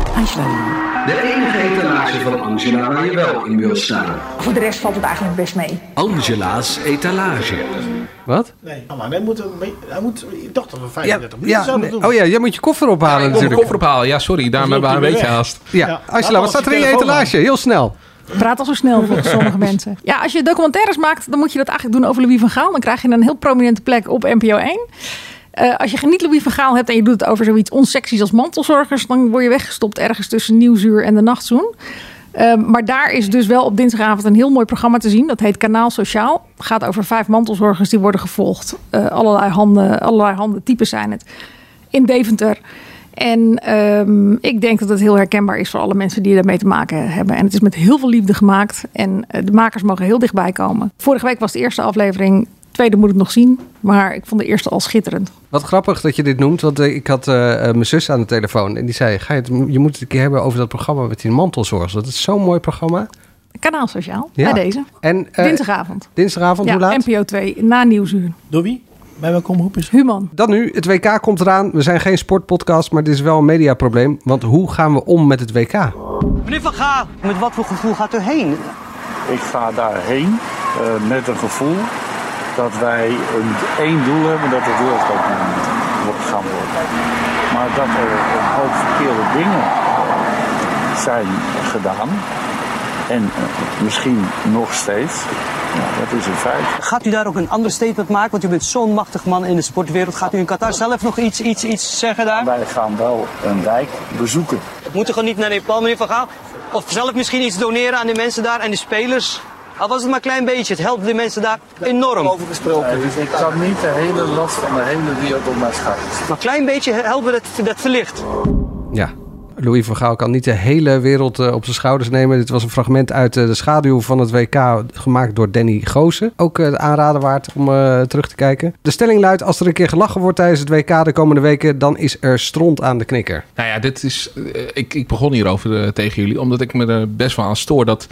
M: De enige etalage van Angela waar je wel in wil staan.
O: Voor de rest valt het eigenlijk best mee.
M: Angela's etalage.
G: Wat?
J: Nee, maar hij moet, een beetje- hij moet, Nou, ik dacht dat we 35 minuten
G: Ja,
J: zouden
G: nee.
J: doen.
G: oh ja, jij moet je koffer ophalen
H: Ik
G: natuurlijk.
H: mijn koffer ophalen. Ja, sorry, daarom
J: loopt
H: hebben we
J: hij
H: een beetje
J: weer weg.
H: haast.
G: Ja, Angela, wat staat er in je etalage? Heel snel.
I: Praat al zo snel volgens sommige mensen. Ja, als je documentaires maakt, dan moet je dat eigenlijk doen over Louis van Gaal. Dan krijg je een heel prominente plek op NPO 1. Eh, als je geen niet Louis van Gaal hebt en je doet het over zoiets onsexies als mantelzorgers... dan word je weggestopt ergens tussen Nieuwsuur en de Nachtzoen. Eh, maar daar is dus wel op dinsdagavond een heel mooi programma te zien. Dat heet Kanaal Sociaal. Het gaat over vijf mantelzorgers die worden gevolgd. Eh, allerlei, handen, allerlei handen types zijn het. In Deventer. En ehm, ik denk dat het heel herkenbaar is voor alle mensen die daarmee te maken hebben. En het is met heel veel liefde gemaakt. En eh, de makers mogen heel dichtbij komen. Vorige week was de eerste aflevering. Tweede moet ik nog zien. Maar ik vond de eerste al schitterend.
G: Wat grappig dat je dit noemt, want eh, ik had eh, eh, mijn zus aan de telefoon en die zei: Ga je, het, je moet het een keer hebben over dat programma met die mantelzorg. Dat is zo'n mooi programma.
I: Kanaal Sociaal.
G: Ja.
I: Bij deze.
G: En, eh,
I: Dinsdagavond.
G: Dinsdagavond,
I: Ja,
G: hoe laat?
I: NPO 2. Na Nieuwsuur.
J: Door wie? Bij welke omroep is
I: Human.
G: Dan nu, het WK komt eraan. We zijn geen sportpodcast, maar dit is wel een mediaprobleem. Want hoe gaan we om met het WK?
K: Meneer Van Gaal, met wat voor gevoel gaat u heen?
N: Ik ga daarheen eh, met een gevoel dat wij een, één doel hebben, dat het wereldkampioen wordt gaan worden. Maar dat er een hoop verkeerde dingen zijn gedaan. En eh, misschien nog steeds. Ja, dat is een feit.
K: Gaat u daar ook een ander statement maken? Want u bent zo'n machtig man in de sportwereld. Gaat u in Qatar zelf nog iets, iets, iets zeggen daar?
N: Wij gaan wel een wijk bezoeken.
K: We moeten gewoon niet naar Nepal, meneer Van Gaal. Of zelf misschien iets doneren aan de mensen daar en de spelers. Al was het maar een klein beetje. Het helpt de mensen daar enorm. Over
N: Eh,
K: gesproken.
N: dus ik kan niet de hele last van de hele wereld op mij schuiven.
K: Maar een klein beetje helpen dat, dat verlicht.
G: Ja, Louis van Gaal kan niet de hele wereld eh, op zijn schouders nemen. Dit was een fragment uit eh, de schaduw van het WK, gemaakt door Danny Goosen. Ook eh, de aanrader waard om eh, terug te kijken. De stelling luidt, als er een keer gelachen wordt tijdens het WK de komende weken... dan is er stront aan de knikker.
H: Nou ja, dit is, eh, ik, ik begon hierover eh, tegen jullie, omdat ik me er best wel aan stoor dat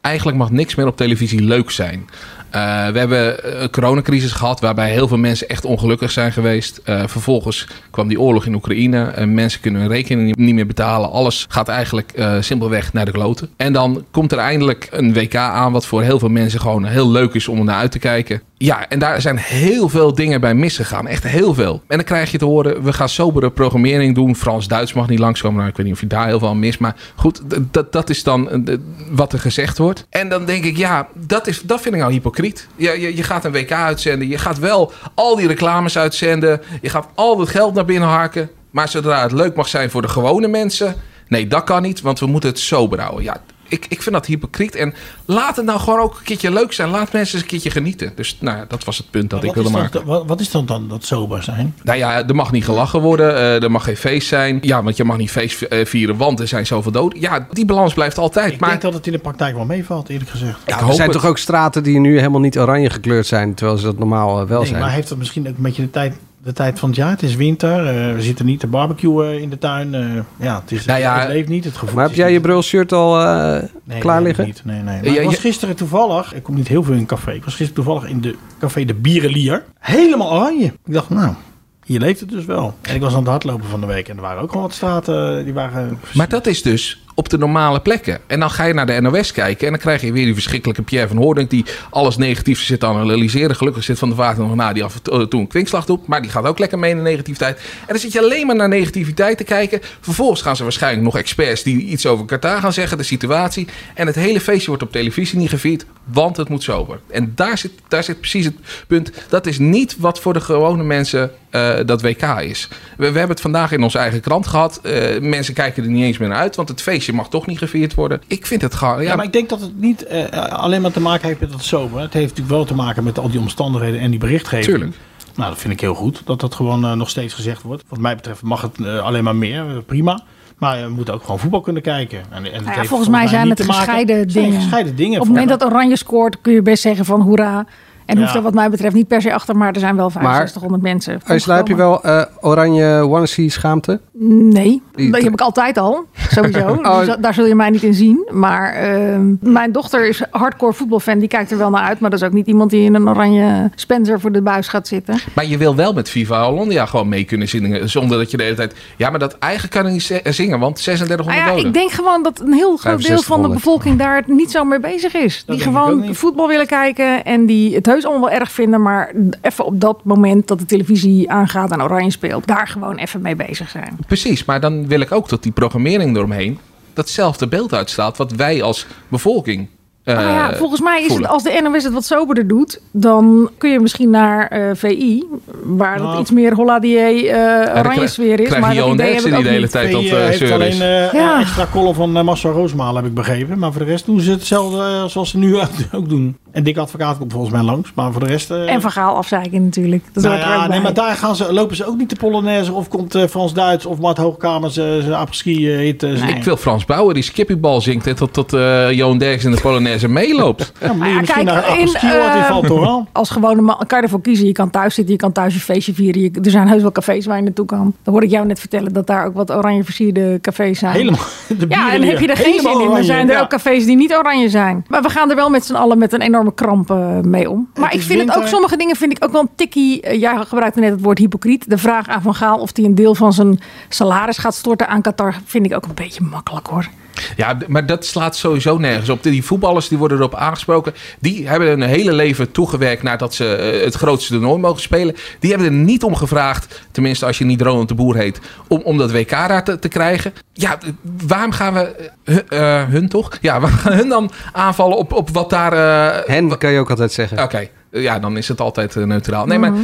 H: eigenlijk mag niks meer op televisie leuk zijn. Eh, we hebben een coronacrisis gehad waarbij heel veel mensen echt ongelukkig zijn geweest. Eh, vervolgens kwam die oorlog in Oekraïne. Eh, mensen kunnen hun rekening niet- niet meer betalen. Alles gaat eigenlijk eh, simpelweg naar de kloten. En dan komt er eindelijk een WK aan wat voor heel veel mensen gewoon heel leuk is om naar uit te kijken. Ja, en daar zijn heel veel dingen bij misgegaan. Echt heel veel. En dan krijg je te horen, we gaan sobere programmering doen. Frans-Duits mag niet langskomen. Nou, ik weet niet of je daar heel veel aan mis. Maar goed, d- dat, dat is dan eh, d- wat er gezegd wordt. En dan denk ik, ja, dat, is, dat vind ik nou hypocriet. Ja, je, je gaat een WK uitzenden. Je gaat wel al die reclames uitzenden. Je gaat al dat geld naar binnen harken. Maar zodra het leuk mag zijn voor de gewone mensen... Nee, dat kan niet, want we moeten het sober houden. Ja, ik, ik vind dat hypocriet. En laat het nou gewoon ook een keertje leuk zijn. Laat mensen eens een keertje genieten. Dus nou ja, dat was het punt dat ik
J: Wat
H: wilde
J: is
H: maken.
J: dan- wat- Wat is dan dan dat sober zijn?
H: Nou ja, er mag niet gelachen worden, eh, er mag geen feest zijn. Ja, want je mag niet feest eh, vieren, want er zijn zoveel doden. Ja, die balans blijft altijd.
J: Ik denk dat het in de praktijk wel meevalt, eerlijk gezegd.
H: Ja,
G: er zijn toch ook straten die nu helemaal niet oranje gekleurd zijn... terwijl ze dat normaal eh, wel
J: Nee,
G: zijn.
J: maar heeft dat misschien ook een beetje de tijd, de tijd van het jaar? Het is winter, eh, we zitten niet te barbecuen in de tuin. eh, ja, het, is, het leeft niet, het gevoel.
G: Maar heb jij je brulshirt al eh, klaar liggen?
J: Niet, nee, nee. Maar ik was gisteren toevallig, ik kom niet heel veel in café. Ik was gisteren toevallig in de café De Bierenlier. Helemaal oranje. Ik dacht, nou, hier leeft het dus wel. En ik was aan het hardlopen van de week en er waren ook gewoon wat straten. eh, Die waren...
H: Maar dat is dus op de normale plekken. En dan ga je naar de NOS kijken en dan krijg je weer die verschrikkelijke Pierre van Hoordink... die alles negatief zit te analyseren. Gelukkig zit Van der Vaart nog na, die af en toe toe een kwinkslag doet. Maar die gaat ook lekker mee in de negativiteit. En dan zit je alleen maar naar negativiteit te kijken. Vervolgens gaan ze waarschijnlijk nog experts die iets over Qatar gaan zeggen, de situatie. En het hele feestje wordt op televisie niet gevierd, want het moet sober. En daar zit, daar zit precies het punt. Dat is niet wat voor de gewone mensen eh, dat WK is. We, we hebben het vandaag in onze eigen krant gehad. Eh, mensen kijken er niet eens meer naar uit, want het feestje mag toch niet gevierd worden. Ik vind het gewoon...
J: Ja,
H: Ja,
J: maar ik denk dat het niet eh, alleen maar te maken heeft met dat sober. Het heeft natuurlijk wel te maken met al die omstandigheden en die berichtgeving.
H: Tuurlijk.
J: Nou, dat vind ik heel goed. Dat dat gewoon eh, nog steeds gezegd wordt. Wat mij betreft mag het eh, alleen maar meer. eh, prima. Maar eh, we moeten ook gewoon voetbal kunnen kijken. En, en het
I: Nou ja,
J: heeft
I: volgens mij zijn het
J: niet te maken-
I: gescheiden
J: Het zijn
I: dingen.
J: gescheiden dingen.
I: Op het moment dat Oranje scoort kun je best zeggen van hoera. En
J: Ja.
I: hoeft er wat mij betreft niet per se achter, maar er zijn wel 6500 mensen.
G: Ursula, heb je wel eh, oranje onesie schaamte?
I: Nee,
G: Die-
I: dat heb ik altijd al, sowieso.
G: Oh.
I: Dus da- daar zul je mij niet in zien. Maar ehm, mijn dochter is hardcore voetbalfan, die kijkt er wel naar uit. Maar dat is ook niet iemand die in een oranje Spencer voor de buis gaat zitten.
H: Maar je wil wel met Viva Hollandia gewoon mee kunnen zingen. Zonder dat je de hele tijd... Ja, maar dat eigen kan ik niet ze- eh, zingen, want 3600
I: Nou ja,
H: doden.
I: ik denk gewoon dat een heel groot deel van de
H: 6500.
I: bevolking daar het niet zo mee bezig is. die
H: denk ik ook
I: gewoon voetbal willen kijken en die het heus allemaal wel erg vinden, maar even op dat moment dat de televisie aangaat en Oranje speelt, daar gewoon even mee bezig zijn.
H: Precies, maar dan wil ik ook dat die programmering eromheen datzelfde beeld uitstaat wat wij als bevolking eh,
I: Nou ja, volgens mij is
H: voelen.
I: het, als de NOS het wat soberder doet, dan kun je misschien naar eh, VI, waar
J: Nou.
I: dat iets meer holladier eh
H: dan
I: oranje
H: krijg-
I: sfeer is.
H: krijg
I: Maar dat
H: je Johan
I: idee heb
H: Derksen
I: ik ook
H: die de hele
I: niet.
H: tijd dat
J: Die,
H: eh,
J: eh, heeft
H: zeur
J: alleen
H: is.
J: eh,
I: Ja.
J: een extra column van eh, Massa Roosmalen, heb ik begrepen. Maar voor de rest doen ze hetzelfde eh, zoals ze nu ook doen. En Dick Advocaat komt volgens mij langs. Maar voor de rest... eh,
I: En van Gaal afzeiken natuurlijk. Dat
J: nou
I: hoort er
J: ja,
I: ook
J: nee,
I: bij.
J: maar daar gaan ze, lopen ze ook niet de Polonaise. Of komt eh, Frans Duits of Mart Hoogkamer zijn zijn apres-ski eh, hit. eh, zingen.
H: Ik wil Frans Bauer die skippiebal zingt en tot, tot eh, Johan Derksen in de Polonaise meeloopt.
I: Nou ja,
J: misschien naar een apres-ski
I: eh,
J: wat in valt, toch wel?
I: Als gewone man kan je ervoor kiezen. Je kan thuis zitten, je kan thuis je feestje vieren. Je- er zijn heus wel cafés waar je naartoe kan. Dan hoorde ik jou net vertellen dat daar ook wat oranje versierde cafés zijn.
J: Helemaal. de
I: Ja, en
J: bieren
I: heb je er geen
J: hier.
I: zin
J: Helemaal
I: in, dan
J: oranje,
I: zijn er
J: ja.
I: ook cafés die niet oranje zijn. Maar we gaan er wel met z'n allen met een enorme kramp eh, mee om. Maar
J: Het
I: ik
J: is
I: vind het ook,
J: winter.
I: sommige dingen vind ik ook wel een tikkie. eh, jij gebruikte net het woord hypocriet. De vraag aan Van Gaal of hij een deel van zijn salaris gaat storten aan Qatar... vind ik ook een beetje makkelijk hoor.
H: Ja, d- maar dat slaat sowieso nergens op. Die voetballers die worden erop aangesproken. Die hebben hun hele leven toegewerkt nadat ze eh, het grootste toernooi mogen spelen. Die hebben er niet om gevraagd, tenminste als je niet Ronald de Boer heet, om, om dat WK daar te, te krijgen. Ja, d- waarom gaan we eh, hun, eh, hun toch? Ja, waarom gaan hun dan aanvallen op, op wat daar... eh,
G: hen kan je ook altijd zeggen.
H: Oké, ja, dan is het altijd eh, neutraal. Nee,
I: Mhm.
H: maar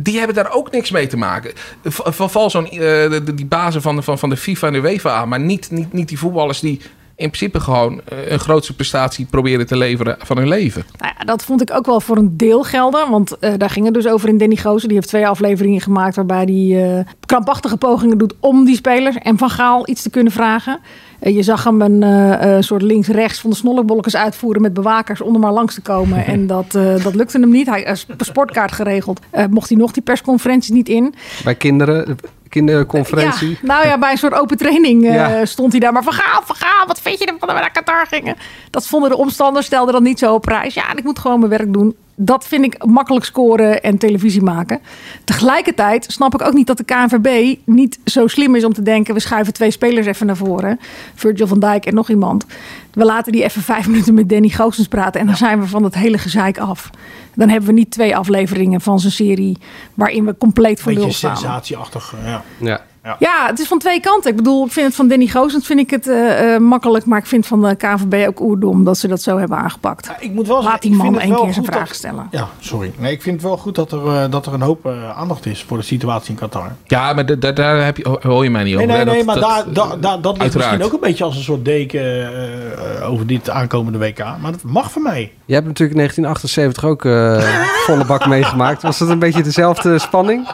H: die hebben daar ook niks mee te maken. Va- va- Val zo'n, eh, de- de- die bazen van de, van, van de FIFA en de UEFA aan. Maar niet, niet, niet die voetballers die in principe gewoon eh, een grootste prestatie proberen te leveren van hun leven.
I: Nou ja, dat vond ik ook wel voor een deel gelden. Want eh, daar ging het dus over in Danny Gozen. Die heeft twee afleveringen gemaakt waarbij hij eh krampachtige pogingen doet om die spelers en van Gaal iets te kunnen vragen. Eh, je zag hem een eh, eh, soort links-rechts van de snollebolletjes uitvoeren met bewakers om er maar langs te komen. en dat, eh, dat lukte hem niet. Hij is per sportkaart geregeld. Eh, mocht hij nog die persconferenties niet in.
G: Bij kinderen, kinderconferentie.
I: Ja, nou ja, bij een soort open training eh,
G: Ja.
I: stond hij daar. Maar van Gaal, van Gaal, wat vind je ervan dat we naar Qatar gingen? Dat vonden de omstanders, stelden dat niet zo op prijs. Ja, en ik moet gewoon mijn werk doen. Dat vind ik makkelijk scoren en televisie maken. Tegelijkertijd snap ik ook niet dat de KNVB niet zo slim is om te denken... we schuiven twee spelers even naar voren. Virgil van Dijk en nog iemand. We laten die even vijf minuten met Danny Goossens praten... en dan zijn we van dat hele gezeik af. Dan hebben we niet twee afleveringen van zijn serie... waarin we compleet voor
J: Beetje
I: lul staan.
J: sensatieachtig. eh, Ja.
G: Ja.
I: Ja, het is van twee kanten. Ik bedoel, ik vind het van Danny Goosens vind ik het eh, eh, makkelijk, maar ik vind van eh, de KVB ook oerdom dat ze dat zo hebben aangepakt.
J: Ik moet wel
I: Laat
J: zeggen,
I: die
J: ik
I: man
J: vind het
I: één
J: wel
I: keer zijn
J: goed
I: vraag
J: dat-
I: stellen.
J: Ja, sorry. Nee, ik vind het wel goed dat er, eh, dat er een hoop eh, aandacht is voor de situatie in Qatar.
H: Ja, maar da- da- daar heb je, ho- hoor je mij niet
J: Nee,
H: over.
J: nee,
H: hè?
J: nee,
H: Dat-
J: maar
H: dat-
J: daar, daar, daar, dat ligt
H: uiteraard.
J: misschien ook een beetje als een soort deken eh, eh, over dit aankomende WK. Maar dat mag van mij.
G: Jij hebt natuurlijk 1978 ook eh, volle bak meegemaakt. Was dat een beetje dezelfde spanning?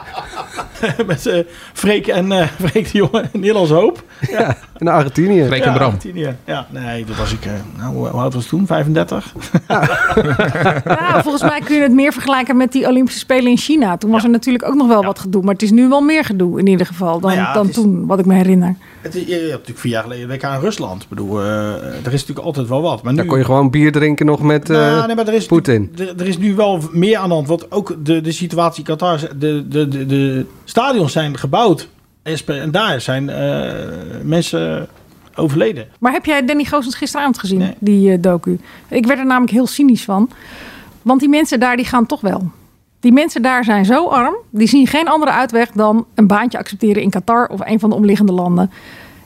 J: Met eh, Freek en eh Freek de Jonge en Nederlands Hoop.
G: Ja, in Argentinië.
J: Ja, Argentinië. Ja, nee, dat was ik. eh, nou, hoe hoe oud was ik toen? 35?
I: Nou, volgens mij kun je het meer vergelijken met die Olympische Spelen in China. Toen was er natuurlijk ook nog wel wat gedoe, maar het is nu wel meer gedoe in ieder geval dan,
J: Nou ja,
I: dan
J: het is-
I: toen, wat ik me herinner.
J: Het is, je, je hebt natuurlijk vier jaar geleden WK in Rusland. Ik bedoel, eh, er is natuurlijk altijd wel wat. Maar nu,
G: Dan kon je gewoon bier drinken nog met eh,
J: Nou, nee, maar er is
G: Poetin.
J: Er, er is nu wel meer aan de hand. Want ook de, de situatie in Qatar. De, de, de, de stadions zijn gebouwd. En spe- En daar zijn eh, mensen overleden.
I: Maar heb jij Danny Goosens gisteravond gezien, die eh, docu? Ik werd er namelijk heel cynisch van. Want die mensen daar, die gaan toch wel. Die mensen daar zijn zo arm. Die zien geen andere uitweg dan een baantje accepteren in Qatar of een van de omliggende landen.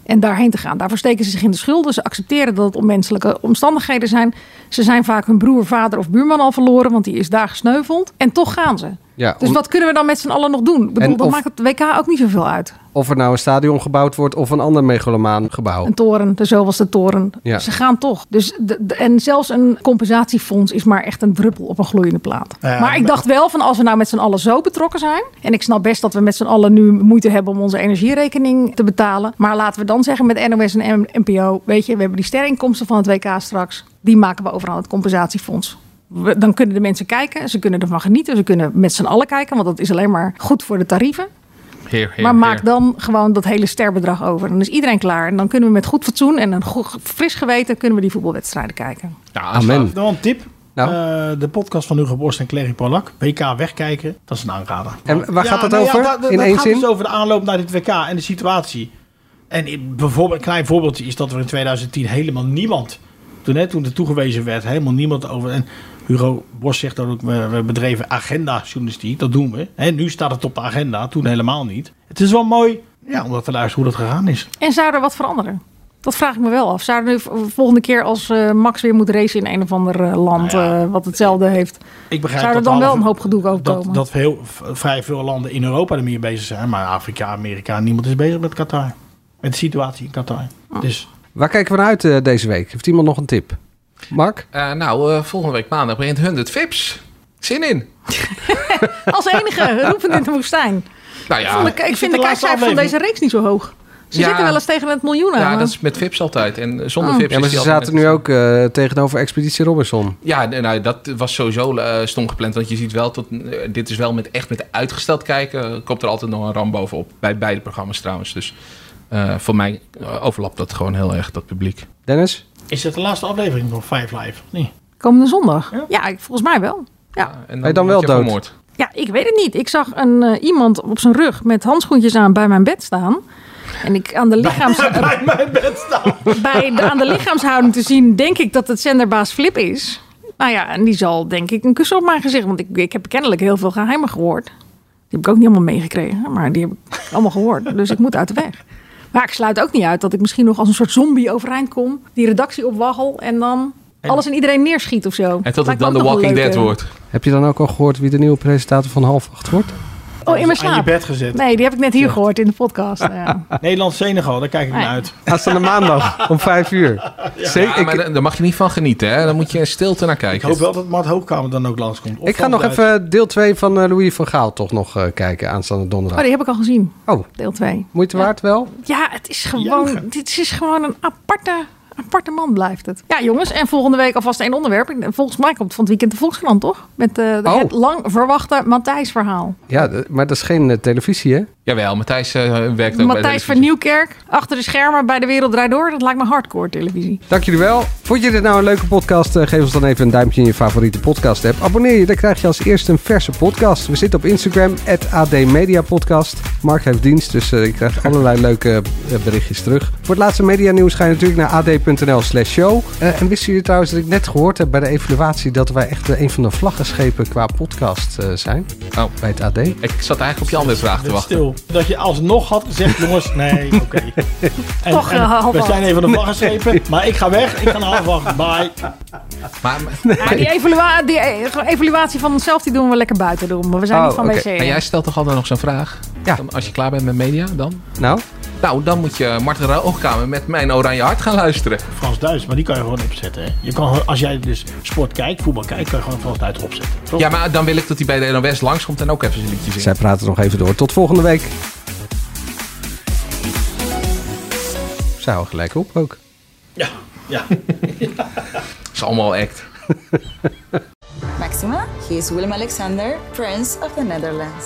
I: En daarheen te gaan. Daar versteken ze zich in de schulden. Ze accepteren dat het onmenselijke omstandigheden zijn. Ze zijn vaak hun broer, vader of buurman al verloren, want die is daar gesneuveld. En toch gaan ze.
G: Ja,
I: Dus
G: om-
I: wat kunnen we dan met z'n allen nog doen? Ik
G: En
I: bedoel, dan
G: of-
I: maakt het WK ook niet zoveel uit.
G: Of er nou een stadion gebouwd wordt of een ander megalomaan gebouw.
I: Een toren, dus zo was de toren.
G: Ja.
I: Ze gaan toch. Dus de- de- en zelfs een compensatiefonds is maar echt een druppel op een gloeiende plaat.
P: Ja,
I: maar ik dacht wel van als we nou met z'n allen zo betrokken zijn. En ik snap best dat we met z'n allen nu moeite hebben om onze energierekening te betalen. Maar laten we dan zeggen met NOS en M- NPO. Weet je, we hebben die sterrenkomsten van het WK straks. Die maken we overal het compensatiefonds. We- dan kunnen de mensen kijken. Ze kunnen ervan genieten. Ze kunnen met z'n allen kijken. Want dat is alleen maar goed voor de tarieven.
H: Heer, heer,
I: Maar maak
H: heer.
I: dan gewoon dat hele sterbedrag over. Dan is iedereen klaar. En dan kunnen we met goed fatsoen en een go- fris geweten... kunnen we die voetbalwedstrijden kijken.
J: Amen. Dan een tip.
G: Nou,
J: Eh, de podcast van Hugo Borst en Clary Polak. WK wegkijken. Dat is een aanrader.
G: En waar
J: Ja,
G: gaat dat
J: nou ja,
G: over?
J: dat- dat-
G: in
J: dat
G: één
J: gaat
G: zin?
J: dus over de aanloop naar dit WK en de situatie. En in- bijvoorbeeld, een klein voorbeeldje is dat er in 2010 helemaal niemand... Toen, hè, toen er toegewezen werd, helemaal niemand over... En Hugo Bos zegt dat ook, we, we bedreven agenda-journalistiek. Dat doen we. Hè, nu staat het op de agenda, toen helemaal niet. Het is wel mooi ja, om dat te luisteren hoe dat gegaan is.
I: En zou er wat veranderen? Dat vraag ik me wel af. Zouden we v- volgende keer als eh, Max weer moet racen in een of ander eh, land eh, wat hetzelfde heeft...
J: Ik begrijp
I: zou er
J: dat
I: dan
J: alle-
I: wel een hoop gedoe over
J: Dat,
I: komen?
J: dat heel, v- vrij veel landen in Europa ermee bezig zijn. Maar Afrika, Amerika, niemand is bezig met Qatar. Met de situatie in Qatar.
I: Oh.
J: Dus
G: Waar kijken we naar uit eh, deze week? Heeft iemand nog een tip? Mark?
H: Eh, nou, eh, volgende week maandag begint 100 Vips. Zin in.
I: Als enige, roepend in de woestijn.
H: Nou
I: Ik
H: ja,
I: vond de- ik
H: Is
I: vind
H: dit
I: de
H: de
I: kijkcijfer
H: laatste
I: van
H: aflevering?
I: deze reeks niet zo hoog. Ze
H: Ja.
I: zitten wel eens tegen het miljoen aan.
H: ja,
I: hè?
H: dat is met Vips altijd. En eh, zonder
I: Oh.
H: Vips
G: Ja, maar
H: is
G: ze
H: die
G: zaten
H: altijd...
G: nu ook eh, tegenover Expeditie Robinson.
H: Ja, nee, nou, dat was sowieso eh, stom gepland. Want je ziet wel, tot, eh, dit is wel met, echt met uitgesteld kijken. eh, komt er altijd nog een ram bovenop. Bij beide programma's trouwens. Dus eh, voor mij eh, overlapt dat gewoon heel erg, dat publiek.
G: Dennis?
J: is dit de laatste aflevering van Five Live? of niet?
I: Komende zondag? Ja, ik- volgens mij wel. Ja.
H: En
G: Ben je dan wel
H: word je
G: dood?
H: vermoord.
I: ja, ik weet het niet. Ik zag een, eh, iemand op zijn rug met handschoentjes aan bij mijn bed staan. En ik aan de lichaams... bij mijn bed staan? de, aan de lichaamshouding te zien, denk ik dat het zenderbaas Flip is. Nou ja, en die zal denk ik een kus op mijn gezicht. Want ik, ik heb kennelijk heel veel geheimen gehoord. Die heb ik ook niet helemaal meegekregen. Maar die heb ik allemaal gehoord. Dus ik moet uit de weg. Maar ik sluit ook niet uit dat ik misschien nog als een soort zombie overeind kom. Die redactie opwaggel en dan alles en iedereen neerschiet of zo.
H: En tot het
I: Lijkt me
H: dan
I: ook
H: de
I: nog wel
H: Walking
I: leuk,
H: Dead
I: eh.
H: wordt.
G: Heb je dan ook al gehoord wie de nieuwe presentator van half acht wordt?
I: Oh, in mijn
J: Aan je
I: slaap.
J: bed gezet.
I: Nee, die heb ik net hier gehoord in de podcast. Ja.
J: ah. Nederland-Senegal, daar kijk ik
I: Nee.
J: naar uit.
G: Aanstaande maandag om vijf uur.
H: Ja, maar daar- daar mag je niet van genieten. Hè? Daar moet je in stilte naar kijken.
J: Ik hoop wel dat Mart Hoogkamer dan ook langskomt. Of
G: Ik ga nog
J: Frans
G: even deel 2 van eh, Louis van Gaal toch nog eh, kijken aanstaande
I: Oh,
G: donderdag.
I: die heb ik al gezien.
G: Oh,
I: Deel 2.
G: moeite waard wel?
I: Ja, het is gewoon, dit is gewoon een aparte, aparte man blijft het. Ja, jongens. En volgende week alvast één onderwerp. Volgens mij komt van het weekend de Volkskrant, toch? Met eh,
G: Oh.
I: het lang verwachte Matthijs-verhaal.
G: Ja, d- maar dat is geen eh, televisie, hè?
H: Jawel, Matthijs eh, werkt ook bij
I: Matthijs
H: de
I: van Nieuwkerk, achter de schermen bij De Wereld Draait Door. Dat lijkt me hardcore televisie.
G: Dank jullie wel. Vond je dit nou een leuke podcast? Eh, Geef ons dan even een duimpje in je favoriete podcast app. Abonneer je, dan krijg je als eerste een verse podcast. We zitten op Instagram, @admediapodcast. Mark heeft dienst, dus eh, ik krijg allerlei leuke eh, berichtjes terug. Voor het laatste medianieuws ga je natuurlijk naar ad.nl slash show. Eh, en wisten jullie trouwens dat ik net gehoord heb bij de evaluatie... dat wij echt eh, een van de vlaggenschepen qua podcast eh, zijn?
H: Oh.
G: Bij het AD.
H: Ik zat eigenlijk op je andere vraag te
J: Blijf
H: wachten.
J: Stil. Dat je alsnog had gezegd, jongens, nee, oké. En-
I: Toch,
J: en
I: eh, half
J: We
I: acht.
J: zijn even de vlaggenschepen, maar ik ga weg. Ik ga naar half acht. Bye.
H: Maar,
I: Maar die, evalua- die e- evaluatie van onszelf die doen we lekker buiten doen. Maar we zijn
H: Oh,
I: niet van
H: oké.
I: wc. eh.
H: En jij stelt toch altijd nog zo'n vraag? Dan- als je klaar bent met media, dan?
G: Nou?
H: Nou, dan moet je Marten Roogkamer met Mijn Oranje Hart gaan luisteren.
J: Frans Duits, maar die kan je gewoon opzetten. Hè. Je kan, gewoon- als jij dus sport kijkt, voetbal kijkt, kan je gewoon Frans Duits opzetten. Toch?
H: Ja, maar dan wil ik dat hij bij de NOS langskomt en ook even zijn liedje zingt.
G: Zij praten nog even door. Tot volgende week. Zij houden gelijk op ook.
J: Ja, ja.
H: is allemaal act.
A: Maxima, he is Willem Alexander, Prince of the Netherlands.